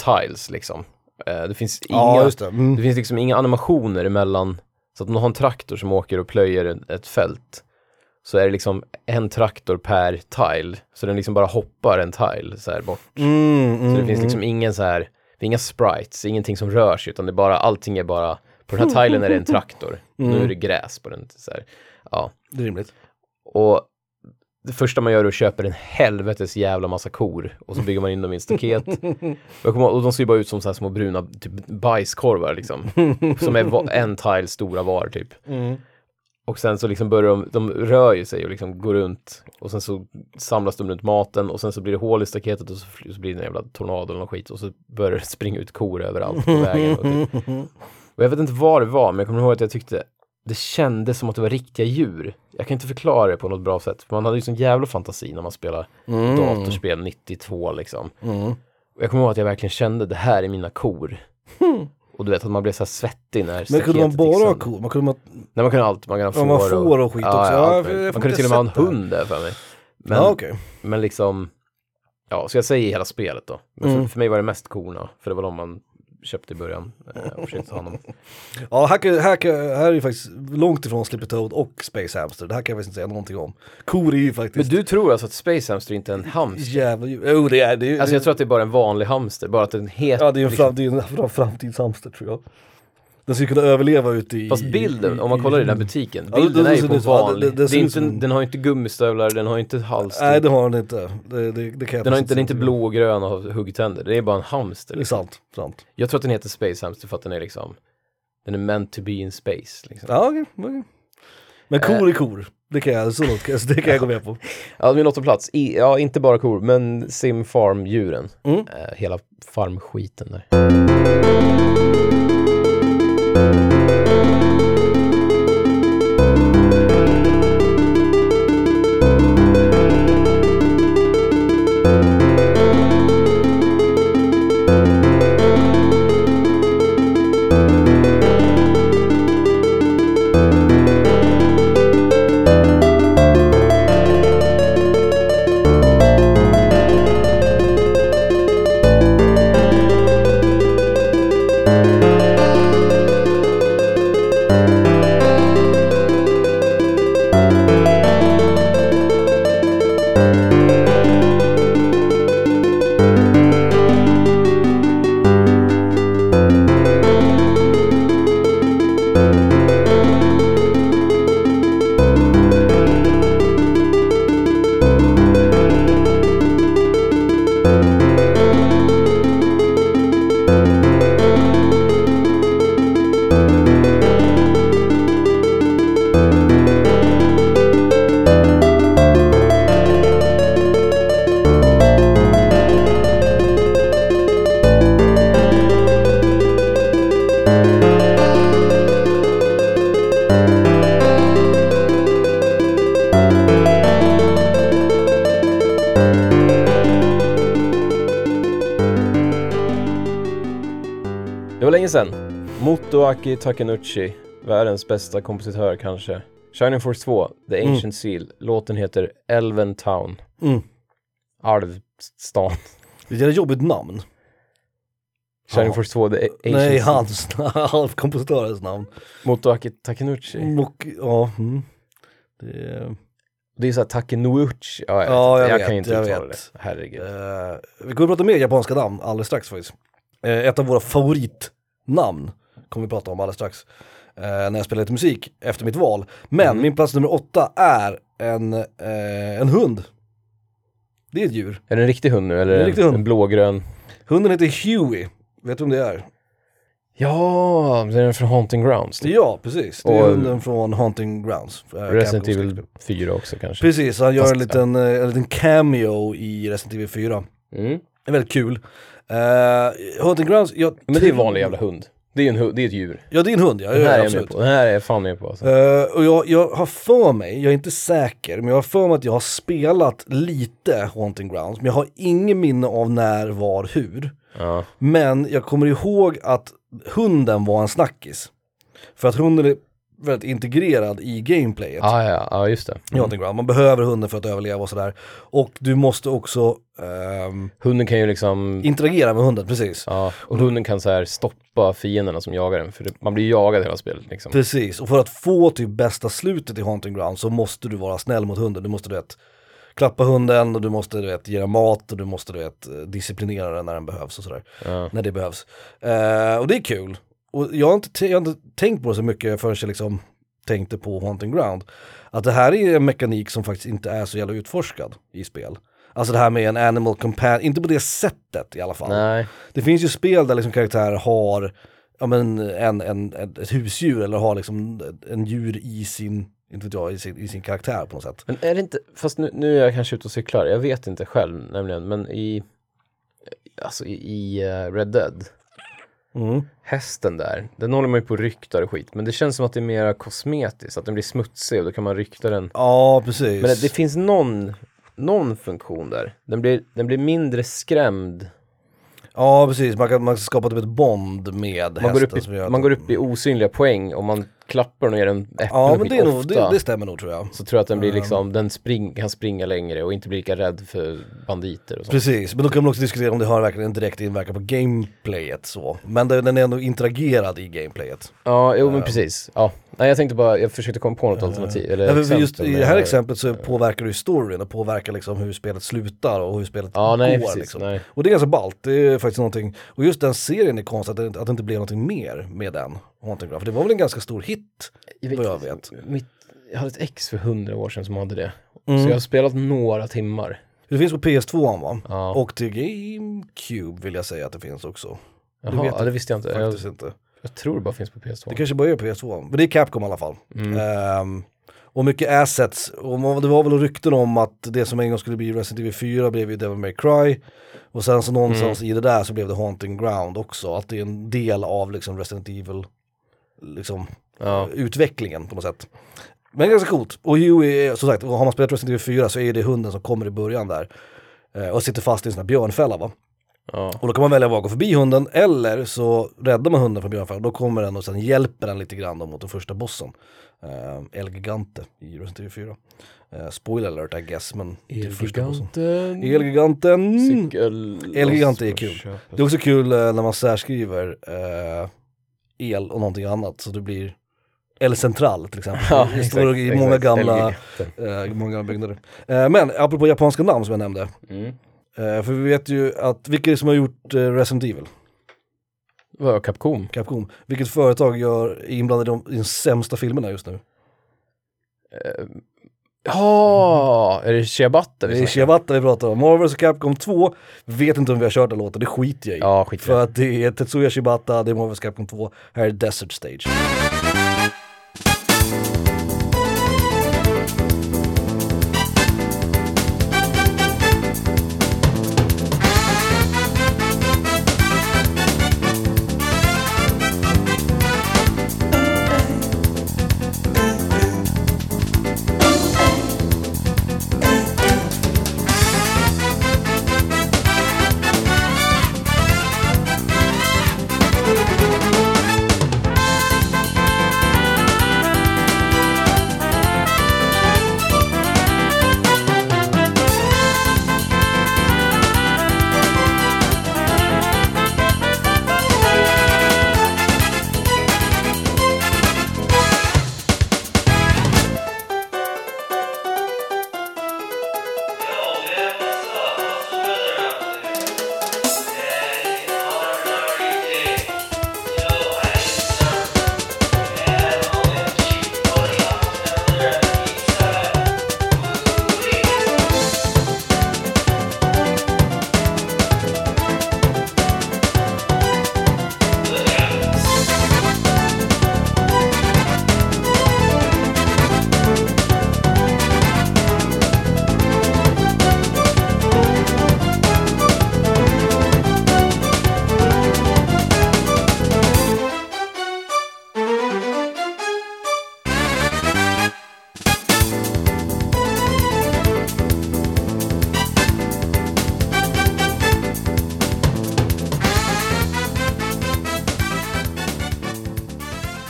tiles liksom. Eh, det finns inga, Ja, just det. det. Mm. finns liksom inga animationer emellan. Så att om du har en traktor som åker och plöjer ett, ett fält så är det liksom en traktor per tile. Så den liksom bara hoppar en tile så här bort. Mm, mm, Så det finns liksom ingen så här, det är inga sprites, ingenting som rör sig, utan det är bara, allting är bara, på den här tilen är det en traktor, nu är det gräs på den. Så här. Ja. Det är rimligt. Och det första man gör är att köpa en helvetes jävla massa kor och så bygger man in dem i en staket. Och, jag kommer ihåg- och de ser ju bara ut som så här små bruna typ, bajskorvar liksom, som är va- en tile stora var typ. Och sen så liksom börjar de, de rör ju sig och liksom går runt och sen så samlas de runt maten och sen så blir det hål i staketet och så, fly- så blir det en jävla tornado eller något skit och så börjar det springa ut kor överallt på vägen. Och, typ. och jag vet inte vad det var, men jag kommer ihåg att jag tyckte det kändes som att det var riktiga djur. Jag kan inte förklara det på något bra sätt. för Man hade ju sån jävla fantasi när man spelar Mm. datorspel 92 liksom. Och jag kommer ihåg att jag verkligen kände det här är mina kor. Och du vet att man blev så här svettig när Men kunde man staketet liksom gick bara ha sönder. kor? Man kunde man... Nej man kunde ha allt, man kunde ha Ja, får, man får och skit också. Ja, allt jag- möjligt. jag får man kunde inte till och med ha en sett det här. hund där för mig. Men, Ja, okej. men liksom, ja, så jag säger hela spelet då. Men Mm. för, för mig var det mest korna, för det var de man köpte i början eh, och försökte ta hand om. Ja, här, kan, här, kan, här är ju faktiskt långt ifrån Slippy Toad och Space Hamster. Det här kan jag faktiskt inte säga någonting om. Kor är ju Men faktiskt du tror alltså att Space Hamster inte är en hamster? jävla djur. Jo, det är det. Är, Alltså jag tror att det är bara en vanlig hamster, bara att den liksom. heter... Ja, det är ju en, fram, det är en fram, framtidshamster tror jag. Den skulle kunna överleva ute i... Fast bilden, om man kollar i den här butiken, Ja, det- bilden det är ser ju på en ut så. Ja, det- vanlig. det- det Det ser är ut inte, som- den har ju inte gummistövlar, den har ju inte hals. typ. Nej, det har den inte. Det, det, det kan jag den har faktiskt inte, den är inte säga. blå och grön och har huggtänder, det är bara en hamster. Det är sant, sant. Jag tror att den heter Space Hamster för att den är liksom, den är meant to be in space. Liksom. Ja, okej. okej. Men kor är kor. Det kan jag, så långt, kan jag- det kan jag gå med på. Ja, min åttonde plats, I, ja inte bara kor, men Sim Farm djuren. Mm. Eh, hela farmskiten där. Det var länge sedan. Motoaki Takenouchi, världens bästa kompositör kanske. Shining Force 2, The Ancient Seal. Låten heter Elven Town. Mm. Alvstan. Det är ett jobbigt namn. Shining Ja. Force 2, The A- Ancient Nej, Seal. hans, halvkompositörens namn. Motoaki Takenouchi. Och, ja, mm. det är... Det är såhär Takenouchi. Ja, jag, Ja, vet. jag jag vet, kan ju inte jag uttala vet. det. Herregud. Eh, vi kommer att prata mer japanska namn alldeles strax faktiskt. Eh, ett av våra favoritnamn kommer vi prata om alldeles strax. eh, när jag spelar lite musik efter mitt val. Men Mm. min plats nummer åtta är en, eh, en hund. Det är ett djur. Är det en riktig hund nu eller Det är en en, riktig hund. en blågrön? Hunden heter Huey. Vet du vem det är? Mm. Ja, den är från Haunting Grounds. typ. Ja, precis. Det är Och- hunden från Haunting Grounds. eh, Resident Capcoms Evil skräckspel. 4 också kanske. Precis, han gör Fast- en liten, eh, en liten cameo i Resident Evil 4. Mm. Det är väldigt kul. Eh, Haunting Grounds, jag... Men det är en vanlig jävla hund. Det är ju en hund, det är ett djur. Ja, det är en hund ja. Den ja, här är jag absolut. med på. Den här är jag fan med på alltså. Eh, och jag, jag har för mig, jag är inte säker, men jag har för mig att jag har spelat lite Haunting Grounds, men jag har ingen minne av när, var, hur. Ja. Men jag kommer ihåg att hunden var en snackis. För att hunden är väldigt integrerad i gameplayet Ah, ja, ja, just det. i Haunting Grounds. Man behöver hunden för att överleva och sådär. Och du måste också ehm, Hunden kan ju liksom, interagera med hunden, precis. ja, och hunden kan så här stoppa fienderna som jagar en, för det, man blir ju jagad hela spelet liksom. Precis, och för att få typ bästa slutet i Haunting Ground så måste du vara snäll mot hunden. Du måste du vet, klappa hunden och du måste du vet, ge den mat och du måste du vet, eh, disciplinera den när den behövs och sådär. Ja. När det behövs. Eh, och det är kul. Och jag har, inte t- jag har inte tänkt på det så mycket förrän jag liksom tänkte på Haunting Ground. Att det här är en mekanik som faktiskt inte är så jävla utforskad i spel. Alltså det här med en animal companion, inte på det sättet i alla fall. Nej, Det finns ju spel där liksom karaktärer har ja, men en, en, ett ett husdjur eller har liksom en djur i sin, inte vet jag, i sin, i sin karaktär på något sätt. men är det inte, fast nu, nu är jag kanske ute och cyklar, jag vet inte själv nämligen, men i, alltså i, i eh, Red Dead, Mm. hästen där, den håller man ju på och ryktar och skit, men det känns som att det är mera kosmetiskt, att den blir smutsig och då kan man rykta den. Ja, Men precis. det, det finns någon, någon funktion där, den blir, den blir mindre skrämd Ja, precis. Man kan, man kan skapa typ ett bond med Man hästen. går, upp som gör i, att- man går upp i osynliga poäng och man klappar och ner en äpplen Ja, och skit men det, är nog, det, ofta. det Mm. stämmer nog tror jag. Så tror jag att den blir liksom, den spring, kan springa längre och inte bli lika rädd för banditer och sånt. Precis, men då kan man också diskutera om det har verkligen en direkt inverkan på gameplayet så. Men det, den är ändå interagerad i gameplayet. Ja, jo Ehm. men precis. Ja. Nej jag tänkte bara, jag försökte komma på något alternativ. Eller Ja, för exempel, just I men det här jag- exemplet så påverkar det ju storyn och påverkar liksom hur spelet slutar och hur spelet Ja, går. nej precis. liksom. Nej. Och det är ganska ballt, det är faktiskt någonting, och just den serien är konstigt att det, inte- att det inte blev någonting mer med den. Haunting Ground, för det var väl en ganska stor hit, vad jag vet. Mitt, jag hade ett ex för hundra år sedan som hade det. Så Mm. jag har spelat några timmar. Det finns på PS2 va? Ja. Och till GameCube vill jag säga att det finns också. Jaha, vet ja, det visste jag inte. Jag, Faktiskt inte. jag tror det bara finns på PS2. Det kanske bara är PS2, men det är Capcom i alla fall. Ehm, och mycket assets, och man- det var väl rykten om att det som en gång skulle bli Resident Evil 4 blev ju Devil May Cry. Och sen så någonstans i det där så blev det Haunting Ground också, att det är en del av liksom Resident Evil, liksom Ja. utvecklingen på något sätt. Men ganska coolt. Och Huey, är, som sagt, och har man spelat Resident Evil 4 så är det hunden som kommer i början där. eh, Och sitter fast i en sån här björnfälla va. Ja. Och då kan man välja att gå förbi hunden eller så räddar man hunden från björnfällan. Då kommer den och sen hjälper den lite grann då mot den första bossen. Uh, El Gigante i Resident Evil 4. Eh, spoiler alert I guess, men till första bossen. Eleganten. El Giganten. Cykel... El Gigante är på kul. köpet. Det är också kul eh, när man särskriver eh, el och någonting annat så det blir El Central till exempel. Ja, det exakt, står i exakt. många gamla, Helvete. eh, många gamla byggnader. Eh, men apropå japanska namn som jag nämnde. Mm. Eh, för vi vet ju att, vilka är det som har gjort eh, Resident Evil? Vad Capcom? Capcom. Vilket företag gör, är inblandade i de, i de sämsta filmerna just nu? Ja, är det Ciabatta vi Det är snackar? Chiavatta vi pratar om. Marvel och Capcom 2, vet inte om vi har kört den låten, det skiter jag i. Ja, skit i För det. att det är Tetsuya Shibata, det är Marvel vs. Capcom 2, här är Desert Stage.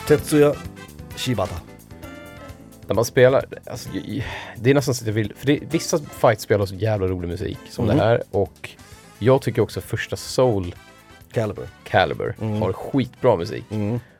Tetsuya Shibata. När man spelar, alltså, j- det är nästan så att jag vill, för det, vissa fights-spel har så jävla rolig musik som Mm. det här och jag tycker också första Soul Caliber. Calibur Mm. har skitbra musik.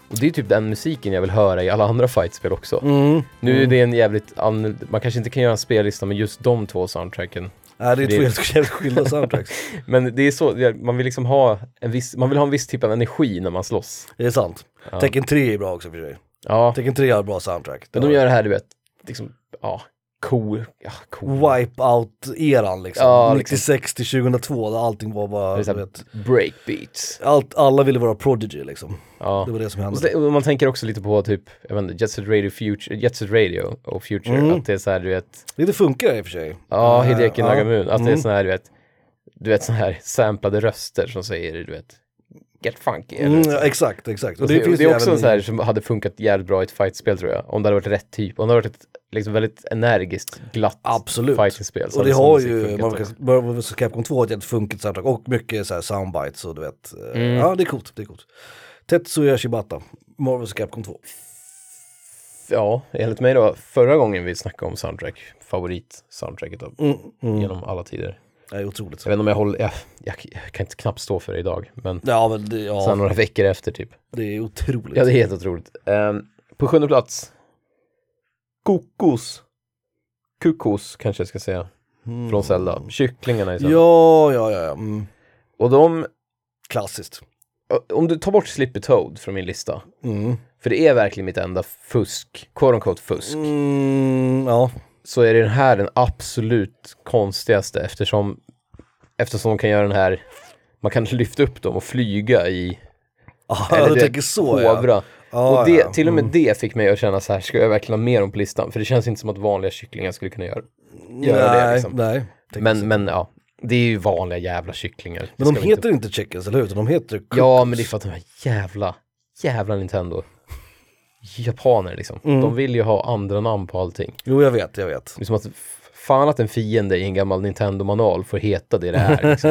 Och det är typ den musiken jag vill höra i alla andra fights-spel också. Mm. Nu är det en jävligt, an... man kanske inte kan göra en spellista med just de två soundtracken. Nej, det är Det- två helt helt skilda soundtracks. Men det är så, det är- man vill liksom ha en viss, man vill ha en viss typ av energi när man slåss. Det är sant. Ja. Tekken 3 är bra också för sig. Ja, Tekken 3 har bra soundtrack. Det men de har- gör det här du vet, liksom, ja, cool, ja, cool. Wipeout-eran liksom. Ja, liksom. 96 till 2002, där allting var bara, Det är så du här vet. Breakbeats. Allt, alla ville vara Prodigy liksom. Ja. Det var det som Och hände. så- och man tänker också lite på typ, jag vet inte, Jet Set Radio, Future, Jet Set Radio och Future, Mm. att det är så här du vet, Det funkar i och för sig. Ja, Eh, Hideki Alltså, ja. Nagamune. Att det är Mm. sån här, du vet, du vet sån här samplade röster som säger, du vet, get funky. Eller, Mm, så. ja, exakt, exakt. Och det, det, finns ju är också även en sån här i- som hade funkat jävligt bra i ett fightspel tror jag. Om det hade varit rätt typ. Om det hade varit ett liksom, väldigt energiskt, glatt Absolut. fightingspel. så Och hade det sån har musik ju funkat Marvel också. Marvel vs Capcom 2 ett helt funkigt soundtrack och mycket så här soundbites och du vet. eh, Mm. Ja, det är coolt, det är coolt. Tetsuya Shibata, Marvel vs Capcom 2. Ja, enligt mig då, förra gången vi snackade om soundtrack, favorit-soundtracket av, Mm, mm. genom alla tider. Det är otroligt. Jag vet inte om jag håller, jag, jag, jag kan inte knappt stå för det idag, men Ja, men det, sen ja, några veckor efter typ. det är otroligt. Ja, det är helt otroligt. Ehm, på sjunde plats. Kokos. Kukos kanske jag ska säga. Mm. Från Zelda. Kycklingarna i Zelda. Ja, ja, ja. ja. Mm. Och de, eh, Klassiskt. om du tar bort Slippy Toad från min lista. Mm. För det är verkligen mitt enda fusk, quote unquote fusk. Mm, ja. Så är den här den absolut konstigaste eftersom, eftersom de kan göra den här, man kan lyfta upp dem och flyga i, Ah, Eller du det- tänker så ja. hovra. Ja, och det, ja. Mm. till och med det fick mig att känna så här, ska jag verkligen ha med dem på listan? För det känns inte som att vanliga kycklingar skulle kunna göra göra det, nej, liksom. nej. Tänker så. Men, men ja, det är ju vanliga jävla kycklingar. Det men de ska vi heter inte chickens, eller hur? Utan de heter Cook- Ja, men det är för att de här jävla, jävla Nintendo. Japaner liksom. Mm. De vill ju ha andra namn på allting. Jo, jag vet, jag vet. Det är som att, f- fan att en fiende i en gammal Nintendo-manual får heta det det är. Liksom.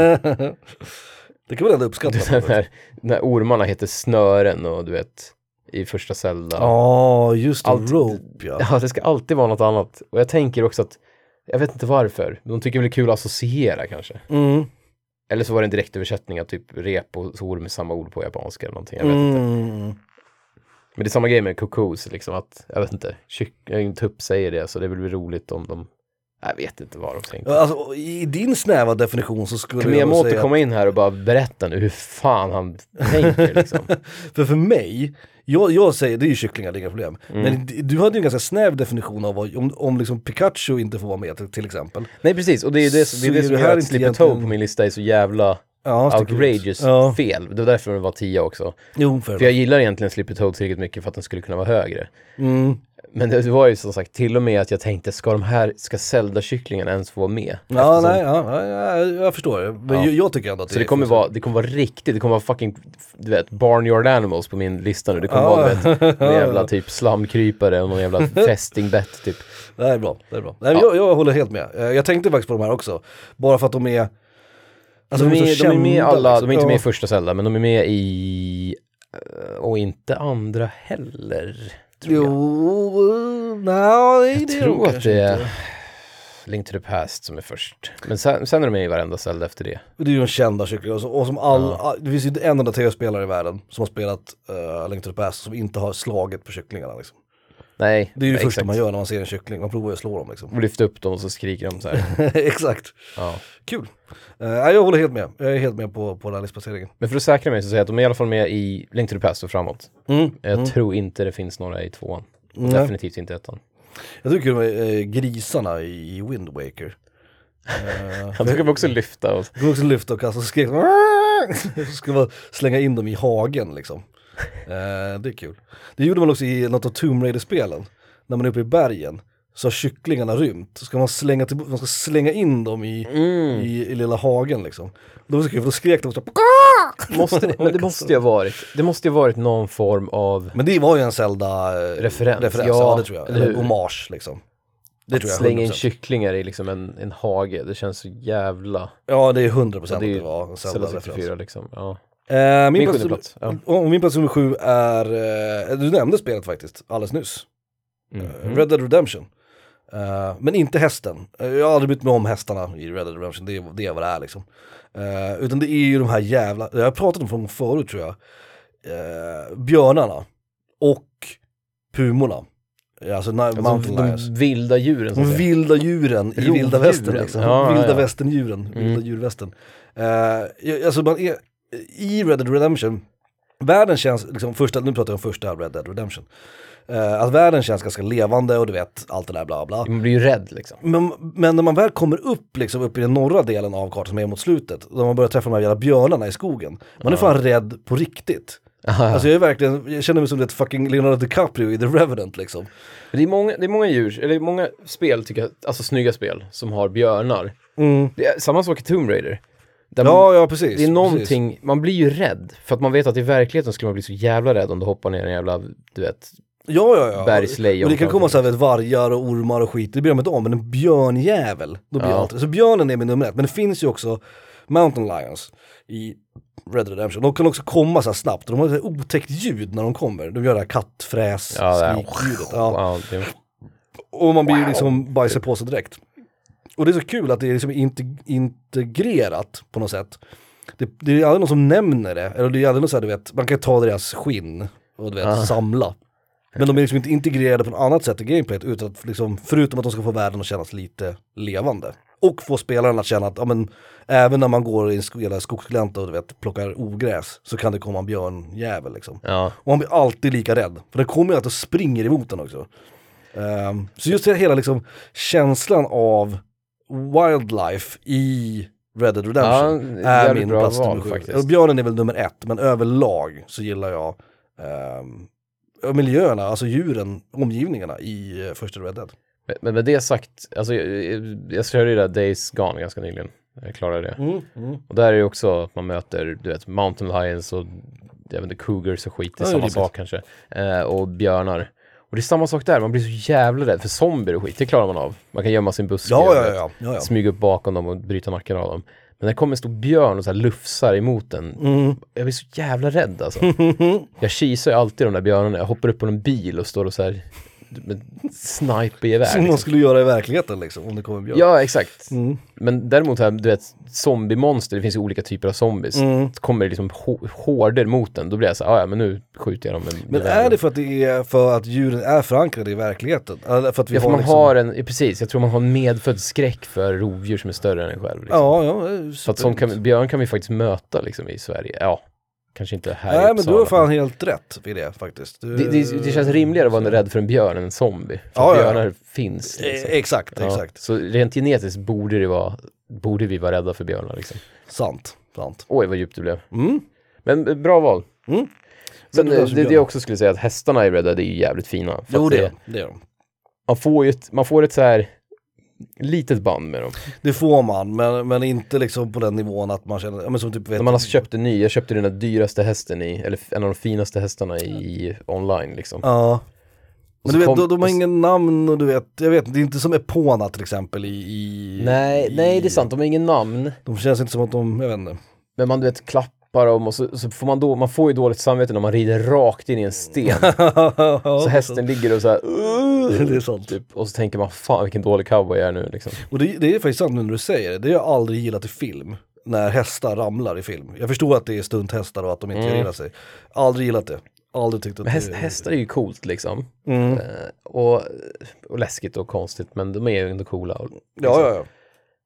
Det kan man ändå uppskatta. på Den något sätt. här, när ormarna heter Snören och du vet, i första Zelda. Ja, just det. Allt- Rope, ja. Ja, det ska alltid vara något annat. Och jag tänker också att, jag vet inte varför, de tycker väl det är kul att associera kanske. Mm. Eller så var det en Mm. direktöversättning av typ rep och orm med samma ord på japanska eller någonting. Jag vet inte. Mm. Men det är samma grej med kokos, liksom att, jag vet inte, kyck- en tupp säger det, så det blir väl roligt om de, jag vet inte vad de tänker. Ja, Alltså, i din snäva definition så skulle Kan jag nog Miyamoto säga komma in här och bara berätta nu hur fan han tänker liksom? För för mig, jag, jag säger, det är ju kycklingar, det är inga problem. Mm. Men d- du hade ju en ganska snäv definition av vad, om, om liksom Pikachu inte får vara med till, till exempel. Nej precis, och det är ju det, som- det, är Så är det som det gör här att inte Slippet egentligen- Toe på min lista är så jävla Ja, sticker ut. outrageous Ja. fel. Det var därför den var 10 också. Jo, för, För jag gillar egentligen Slippet Toe tillräckligt mycket för att den skulle kunna vara högre. mm. Men det var ju som sagt till och med att jag tänkte, ska de här, ska Zelda-kycklingarna ens få vara med? ja, nej, ja, ja, jag förstår. Men Ja. jag, jag tycker ändå att Så det kommer, vara, det kommer vara riktigt, det kommer vara fucking, du vet, Barnyard Animals på min lista nu. Det kommer vara, du vet, någon jävla typ slamkrypare och någon jävla fästingbett typ. Det här är bra, det här är bra. Nej, Ja. jag, jag håller helt med. Eh, Jag tänkte faktiskt på de här också. Bara för att de är... Alltså, de, är, så de är med i kända, alla, liksom. de är inte med i Ja. första Zelda, men de är med i... eh, Och inte andra heller. tror jag. Jo, nej, Jag det är de tror att kanske det inte. är Link to the Past som är först. Men sen, sen är de med i varenda Zelda efter det. Det är ju en kända kyckling och, så, och som all, all, det finns ju inte en enda tv-spelare i världen som har spelat uh, Link to the Past som inte har slagit på kycklingarna liksom. Nej, Det är ju det exakt. första man gör när man ser en kyckling, man provar ju att slå dem liksom. Och lyfter upp dem och så skriker de så här. Exakt, ja. kul. Eh, nej, jag håller helt med, jag är helt med på, på den här listplaceringen. Men för att säkra mig så säger jag att de är i alla fall med i Link to the Past och framåt. Mm. Jag tror inte det finns några i tvåan. Och Nej. definitivt inte i ettan. Jag tycker de är eh, grisarna i i Wind Waker. Han kan vi också lyfta och... De kunde också lyfta och kasta och skrek så skulle man slänga in dem i hagen liksom. Eh, det är kul. Det gjorde man också i något av Tomb Raider-spelen. När man är uppe i bergen så har kycklingarna rymt. Så ska man slänga, till, man ska slänga in dem i, Mm. i, i lilla hagen liksom. Det var så kul för då skrek de så här, Måste, men det måste ju ha varit, det måste ju ha varit någon form av Men det var ju en Zelda eh, Referens, referens ja, ja, det tror jag. eller Eller hur? hommage liksom. Det tror jag. slänga in 100%. kycklingar i liksom en, en hage. Det känns så jävla... Ja det är 100% procent det är att ju det var en Zelda Zelda-referens. 64 liksom. Ja. Eh, min Min plats, sjunde plats. Ja. och min plats nummer sju är, eh, du nämnde spelet faktiskt alldeles nyss. Mm. Mm-hmm. Eh, Red Dead Redemption. Eh, men inte hästen. Eh, jag har aldrig brytt mig om hästarna i Red Dead Redemption, det är, det är vad det är liksom. Eh, utan det är ju de här jävla, jag har pratat om dem förut tror jag, eh, björnarna och pumorna. Alltså, na- Alltså, mountain lions. de vilda djuren. så att De säga. vilda djuren i vilda Rovdjuren. västern. Liksom. Ja, Mm. ja, vilda ja. västern-djuren, vilda djurvästern. Eh, alltså man är, i Red Dead Redemption, världen känns, liksom första, nu pratar jag om första Red Dead Redemption. Eh, att världen känns ganska levande och du vet, allt det där bla bla. Man blir ju rädd liksom. Men, men när man väl kommer upp, liksom, upp i den norra delen av kartan som är mot slutet, då man börjar träffa de här jävla björnarna i skogen, man är fan rädd på riktigt. Alltså jag är verkligen, jag känner mig som ett fucking Leonardo DiCaprio i The Revenant liksom. Det är, många, det är många djur, eller många spel tycker jag, alltså snygga spel, som har björnar. Det är samma sak i Tomb Raider. Där man, Ja, ja precis. Mm. det är precis. någonting, man blir ju rädd. För att man vet att i verkligheten skulle man bli så jävla rädd om du hoppar ner i en jävla, du vet, Ja, ja, ja. Bergslejon Och det kan komma framför så här vet, vargar och ormar och skit, det bryr jag mig inte om, men en björnjävel, då blir Ja. jag alltid... Så björnen är min nummer ett, men det finns ju också Mountain Lions i Red Redemption. De kan också komma så här snabbt, de har ett otäckt ljud när de kommer. De gör det här kattfräs, Ja, det här- skrikljudet. Ja. ja. det, Och man blir ju liksom bajsar på sig direkt. Och det är så kul att det är liksom inte, integrerat på något sätt. Det, det är aldrig någon som nämner det, eller det är aldrig någon så här, du vet, man kan ta deras skinn och du vet, samla. Men de är liksom inte integrerade på något annat sätt i gameplayet, utan att liksom, förutom att de ska få världen att kännas lite levande. Och få spelaren att känna att, ja, men, även när man går i en sk- jävla skogsglänta och du vet, plockar ogräs, så kan det komma en björnjävel liksom. ja. Och han blir alltid lika rädd. För den kommer ju alltid och springer emot den också. Ehm, så just det här hela liksom, känslan av wildlife i Red Dead Redemption Ja, är jävligt min bra plats val nummer sju. faktiskt. Och Björnen är väl nummer ett, men överlag så gillar jag ehm, ja, miljöerna, alltså djuren, omgivningarna i eh, första Red Dead. Men- Men med det sagt, alltså, jag, jag körde ju det där Days Gone ganska nyligen. Jag klarade det. Mm, Och där är det också att man möter, du vet, Mountain Lions och jag vet inte, Cougars och skit. Det är Ja, det är samma rimligt. sak kanske. Eh, och björnar. Och det är samma sak där, man blir så jävla rädd för zombier och skit. Det klarar man av. Man kan gömma sin buske, Ja, och, ja, du ja. vet, ja, ja, ja. smyga upp bakom dem och bryta nacken av dem. Men när det kommer en stor björn och så här lufsar emot en, Mm. jag blir så jävla rädd alltså. jag kisar ju alltid de där björnarna. Jag hoppar upp på en bil och står och så här med snipergevär. Som man Liksom. skulle göra i verkligheten liksom, om det kommer en björn. Ja, exakt. Mm. Men däremot här, du vet, zombiemonster, det finns ju olika typer av zombies. Mm. Så Kommer det liksom hå- horder mot den, då blir jag så här, "Ah, ja men nu skjuter jag dem med Men är det för att det är för att djuren är förankrade i verkligheten? Eller för att vi Ja, för har, man liksom... har en, ja, precis, jag tror man har en medfödd skräck för rovdjur som är större än en själv. Liksom. Ja, ja. det är Så att sån superdumt. kan, björn kan vi faktiskt möta liksom i Sverige. Ja, kanske inte här i Nej men du Uppsala. har fan helt rätt vid det faktiskt. Du... det, det, det känns rimligare att vara rädd för en björn än en zombie. För Ja, att ja, ja. björnar finns. Eh, Liksom. Exakt, Ja, exakt. Så rent genetiskt borde, det vara, borde vi vara rädda för björnar. Liksom. Sant, sant. Oj, vad djupt det blev. Mm. Men eh, bra val. Mm. Sen, Men det eh, låter det, det bra. jag också skulle säga att hästarna i Red Dead är ju jävligt fina. För Jo att det, det är de. man får ju ett, man får ett så här litet band med dem. Det får man, men, men inte liksom på den nivån att man känner, ja, men som typ vet... När man har köpt en ny, jag köpte den där dyraste hästen i, eller en av de finaste hästarna i, i online liksom. Ja. Och Men så du vet, kom- de, de har ingen namn och du vet, jag vet det är inte som Epona till exempel i... i Nej, i, nej det är sant, de har ingen namn. De känns inte som att de, jag vet inte. Men man du vet klappar dem och så, så får man då, man får ju dåligt samvete när man rider rakt in i en sten. Mm. Så hästen ligger och så här, "Ugh", det är sant. typ, och så tänker man fan vilken dålig cowboy jag är nu liksom. Och det, det är faktiskt sant nu när du säger det, det har jag aldrig gillat i film. När hästar ramlar i film. Jag förstår att det är stunthästar och att de inte Mm. gillar sig. Aldrig gillat det. Aldrig tyckt att Men häst, det hästar är ju coolt liksom. Mm. Eh, och, och läskigt och konstigt men de är ju ändå coola. Och, Ja, ja, ja.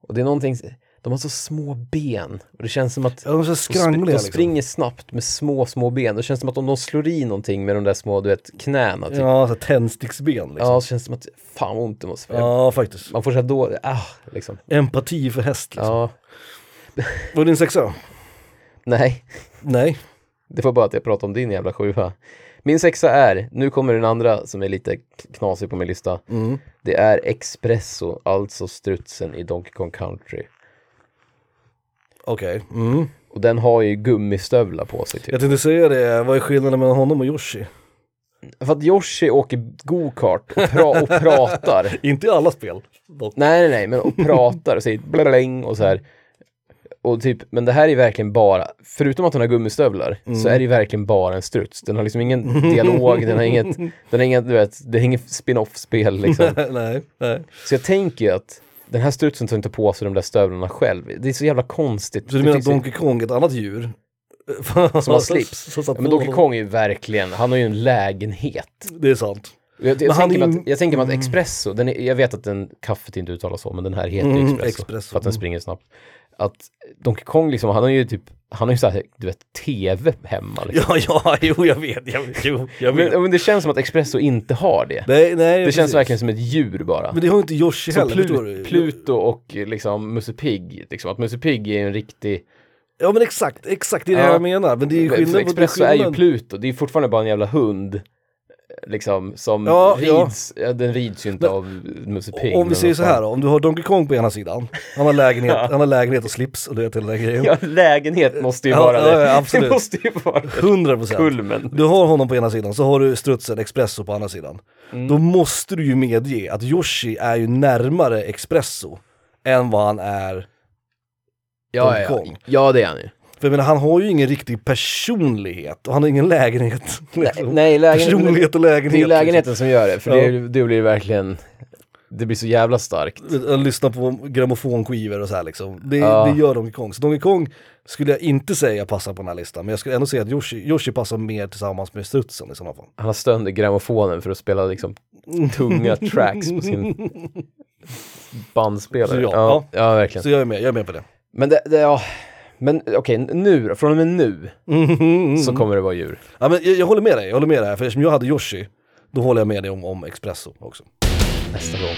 och det är någonting, de har så små ben och det känns som att Ja, De är så De, sp- skrangliga de liksom. springer snabbt med små, små ben. Det känns som att om de slår i någonting med de där små, du vet, knäna typ. Ja, Ja, så här tändsticksben liksom. så känns det som att fan vad ont det måste vara. Ja, faktiskt. Man får såhär då, ah, liksom. Empati för häst liksom. Ja, Var det din sexa? nej. Nej. Det var bara att jag pratade om din jävla sjua. Min sexa är, nu kommer den andra som är lite knasig på min lista. Mm. Det är Espresso, alltså strutsen i Donkey Kong Country. Okej. Mm. Och den har ju gummistövlar på sig typ. Jag tänkte säga det, vad är skillnaden mellan honom och Yoshi? För att Yoshi åker go-kart och, pra- och pratar. Inte i alla spel. Dock. Nej, nej, nej, men och pratar och säger blablabling och så här. Och typ, men det här är verkligen bara, förutom att hon har gummistövlar, så är det ju verkligen bara en struts. Den har liksom ingen dialog, den har inget, den har inget, du vet, det är inget spin-off-spel liksom. nej, nej. Så jag tänker ju att den här strutsen tar inte på sig de där stövlarna själv. Det är så jävla konstigt. Så du Det menar att finns ju- Donkey Kong, ett annat djur? Som har slips. Som satt Ja, men på Donkey honom. Kong är ju verkligen, han har ju en lägenhet. Det är sant. Och Jag, Men jag, han tänker är mig ju- Mm. att, jag tänker mig att Espresso, den är, jag vet att den, kaffet inte uttalas så, men den här heter Mm, Espresso, Espresso, för att den mm. springer snabbt. Att Donkey Kong liksom, han har ju typ, han har ju såhär, du vet, tv hemma liksom. Ja, ja, jo jag vet, jag vet, jo, jag vet. men, men det känns som att Espresso inte har det. Det nej, nej. känns precis. verkligen som ett djur bara. Men det har ju inte Yoshi Som heller, förstår du? Plut, Pluto och eh, liksom Musse Pigg, liksom. Att Musse Pigg är ju en riktig... Ja men exakt, exakt, det är det Ja. jag menar. Men det är ju För skillnad. Espresso är ju Pluto, det är fortfarande bara en jävla hund. eh, Liksom, som Ja, ja. rids, ja. den rids ju inte Men- av Musse Pigg. Om vi men säger vad så fan. här då, om du har Donkey Kong på ena sidan, han har lägenhet, han har lägenhet och slips och du vet hela den grejen. Ja, lägenhet måste ju Ja, vara ja, det. ja, absolut. Det måste ju vara 100 procent. kulmen. Du har honom på ena sidan, så har du strutsen Espresso på andra sidan. Mm. Då måste du ju medge att Yoshi är ju närmare Espresso än vad han är. Ja, Donkey ja, ja. Kong. ja, det är han ju. För jag menar, han har ju ingen riktig personlighet och han har ingen lägenhet. liksom. Nej, lägenhet, personlighet och det är lägenhet. liksom. lägenheten som gör det, för Ja. det, det blir verkligen, det blir så jävla starkt. liksom. Jag lyssnar på grammofonskivor och så här liksom. Det, Ja. det gör Donkey Kong. Så Donkey Kong skulle jag inte säga passar på den här listan, men jag skulle ändå säga att Yoshi, Yoshi passar mer tillsammans med strutsen i sådana fall. Han har sönder grammofonen för att spela liksom tunga tracks på sin bandspelare. Så ja, ja, ja, verkligen. Så jag är med, jag är med på det. Men det, det ja. Men okej, nu då, från och med nu så kommer det vara djur. Ja, men jag, jag håller med dig, jag håller med dig. För eftersom jag hade Yoshi, då håller jag med dig om, om Espresso också. Nästa gång.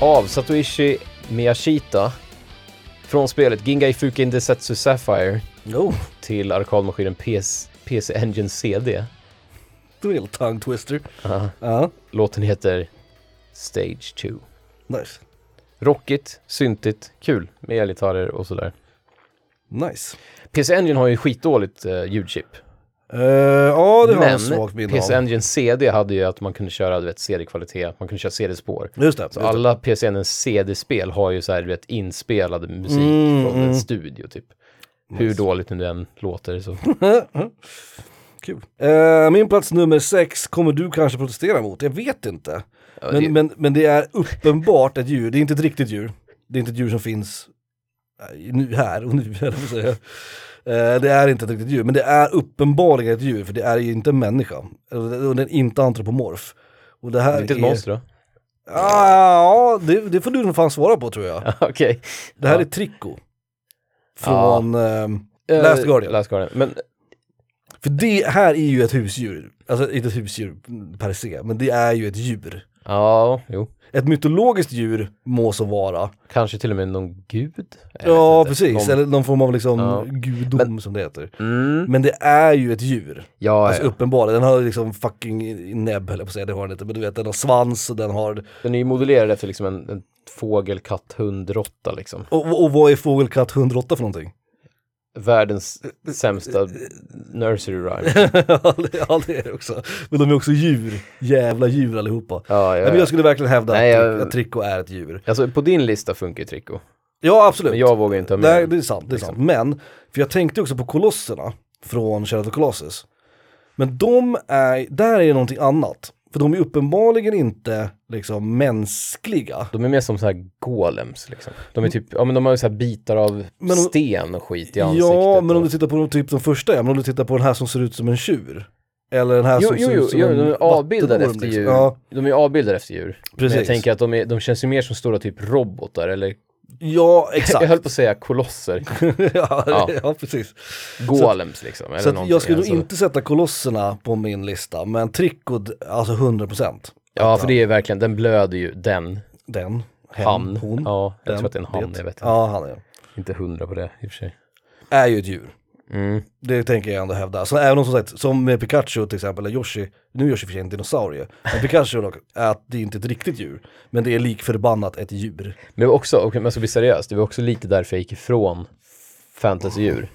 av Satoshi Miyashita från spelet Gingai Fuken Desetsu Sapphire Jo, till arkadmaskinen PS, PC Engine CD. det var en jävla tongue twister. Ja. Ja, Låten heter Stage 2. nice. Rockigt, syntigt, kul med elgitarrer och sådär. Nice. PC Engine har ju skitdåligt eh, ljudchip. Eh, ja, det har jag svagt Men minne PC av. Engine CD hade ju att man kunde köra du vet, CD-kvalitet, man kunde köra CD-spår. Just det. Just Så det. alla PC Engine CD-spel har ju så här, du vet, inspelad musik Mm, från mm. en studio typ. Hur dåligt nu den låter så. Kul. Eh, min plats nummer sex kommer du kanske protestera mot, jag vet inte. Ja, Men, det, men, men det är uppenbart ett djur, det är inte ett riktigt djur. Det är inte ett djur som finns eh, nu här och nu, höll jag på att säga. Eh, Det är inte ett riktigt djur, men det är uppenbarligen ett djur, för det är ju inte en människa. Eller- Och den är inte antropomorf. Och det det här är inte ett är... monster då? Ah, ja, det, det får du nog fan svara på tror jag. Ja, Okej. Det här Ja. är Trico. Från... ehm, Last Eh, Guardian. Last Guardian. Men För det här är ju ett husdjur. Alltså inte ett husdjur per se, men det är ju ett djur. ja, jo. Ett mytologiskt djur må så vara. Kanske till och med någon gud? Eh, Jag vet Ja, inte. precis. Någon- Eller någon form av liksom Ja. gudom som det heter. Mm. Men det är ju ett djur. Ja, Alltså ja. uppenbarligen. Den har liksom fucking näbb höll jag på att säga, det har den inte. Men du vet, den har svans och den har... Den är ju modellerad efter liksom en, en fågel, katt, hund, råtta liksom. Och, och vad är fågelkatt 108 för någonting? Världens Eh, sämsta nursery rhyme. ja, det är det också. Men de är också djur. Jävla djur allihopa. Ja, Nej, ja, men ja. jag skulle verkligen hävda Nej, att, jag- jag... att Trico är ett djur. Alltså på din lista funkar ju Trico. Ja, absolut. Men jag vågar inte ha med liksom. Nej, den. det är sant. Det är sant. Men, för jag tänkte också på kolosserna från Shadow of the Colossus. Men de är, där är det någonting annat. För de är uppenbarligen inte liksom mänskliga. De är mer som så här golems liksom. De är typ, ja men de har ju så här bitar av Men om- sten och skit i ansiktet. Ja, men om och- du tittar på de, typ de första, ja, men om du tittar på den här som ser ut som en tjur. Eller den här Jo, alltså, som jo, ser jo, ut som jo, en de är avbildade vattenorm, efter liksom. djur. Ja, De är avbildade efter djur. Men jag precis. tänker att de, är, de känns ju mer som stora typ robotar eller, Ja, jag exakt. höll på att säga kolosser. ja, Ja. ja, precis. Golems liksom. Eller Så att någonting. jag skulle nog Alltså, inte sätta kolosserna på min lista, men Tricod, alltså 100%. Ja, för det är verkligen, den blöder ju, den. Den, hen, Han. hon. Ja, jag Den, tror att det är en han, jag vet inte. Ja, han är Inte hundra på det i och för sig. Är ju ett djur. Mm. Det tänker jag ändå hävda. Så även om som sagt, som med Pikachu till exempel, eller Yoshi, nu är Yoshi för sig en dinosaurie, men Pikachu dock, är att det är inte ett riktigt djur, men det är likförbannat ett djur. Men det var också, okej, men jag ska bli seriös, det var också lite därför jag gick ifrån fantasydjur.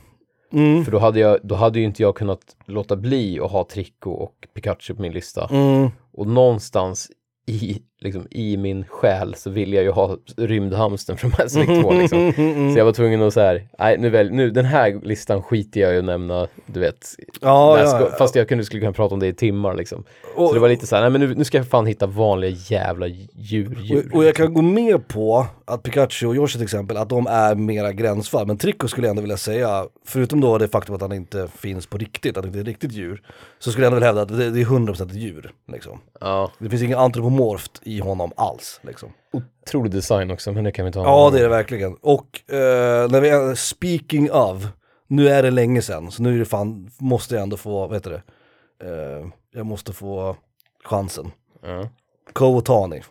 Mm. För då hade, jag, då hade ju inte jag kunnat låta bli att ha Trico och Pikachu på min lista. Mm. Och någonstans i, liksom, i min själ så ville jag ju ha rymdhamsten från Mass Effect 2 liksom. Mm. Så jag var tvungen att så här, nej nu väl, nu den här listan skiter jag i att nämna, du vet. Ja, När jag ja, ska- ja. Fast jag kunde, skulle kunna prata om det i timmar liksom. Och- så det var lite så här, nej men nu, nu ska jag fan hitta vanliga jävla djur. djur. liksom- Och, och jag kan gå med på att Pikachu och Yoshi till exempel, att de är mera gränsfall. Men Trico skulle jag ändå vilja säga, förutom då det faktum att han inte finns på riktigt, att det inte är ett riktigt djur, så skulle jag ändå vilja hävda att det, det är 100% ett djur. Liksom. Ja. Det finns ingen antropomorft i honom alls. Liksom. Otrolig design också, men det kan vi ta. en Ja, annan det är det verkligen. Och eh, när vi är, speaking of, nu är det länge sedan, så nu är det fan, måste jag ändå få, vad heter det, eh, jag måste få chansen. gång. Ja. Kowotani.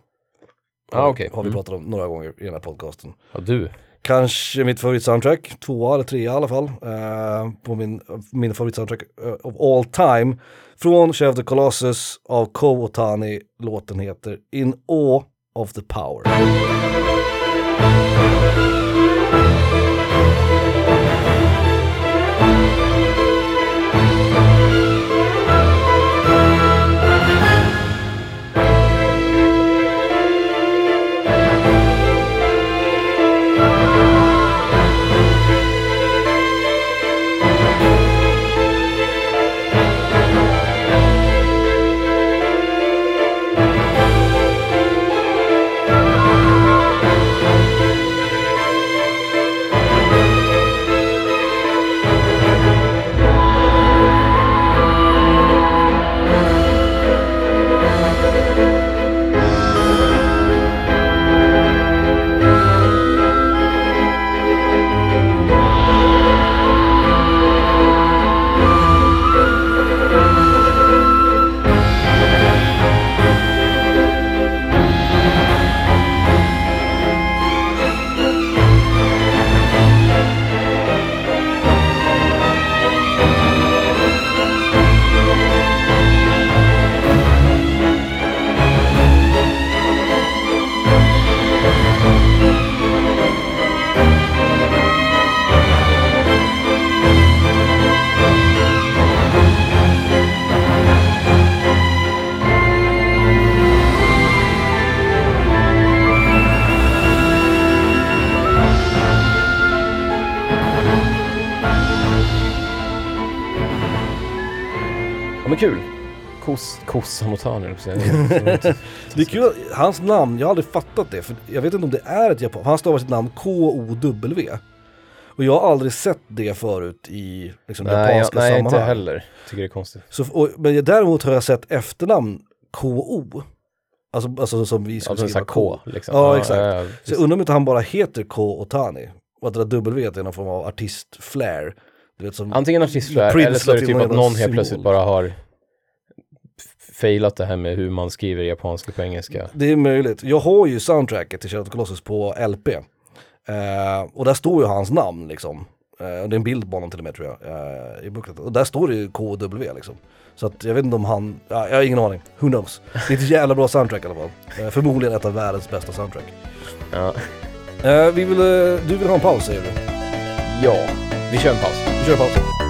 Ah, okej. Har vi Mm. pratat om några gånger i den här podcasten. Ja, du. Kanske mitt favoritsoundtrack, tvåa eller trea i alla fall, eh, på min, min favoritsoundtrack eh, of all time. Från Chef the Colossus av Ko Otani, låten heter In Awe of the Power. Thank Ja men kul. Kos, kossan och törnen, höll jag på att säga. Det är kul, att- hans namn, jag har aldrig fattat det, för jag vet inte om det är ett japan, han stavar sitt namn K-O-W. Och jag har aldrig sett det förut i liksom, Nej, jag, japanska nej inte jag sammanhang. heller. Tycker det är konstigt. Så, och, men däremot har jag sett efternamn K-O. Alltså, alltså som vi Ja, skulle det är så skriva här K liksom. Ja, exakt. ja, ja, Så jag undrar om inte han bara heter K. Otani. Och att det där W är någon form av artist-flair. Du vet som... Antingen artistflärd Prince eller så är det lät typ ju att någon någon helt symbol. plötsligt bara har f- failat det här med hur man skriver japanska på engelska. Det är möjligt. Jag har ju soundtracket till Shadow of the Colossus på LP. Eh, och där står ju hans namn liksom. Eh, och det är en bild på honom till och med tror jag. eh, I booklet. Och där står det ju KW liksom. Så att jag vet inte om han, ja, jag har ingen aning. Who knows. Det är ett jävla bra soundtrack i alla fall. Eh, förmodligen ett av världens bästa soundtrack. Ja. Eh, vi vill, eh, du vill ha en paus säger du. ja, vi kör en paus. Vi kör paus.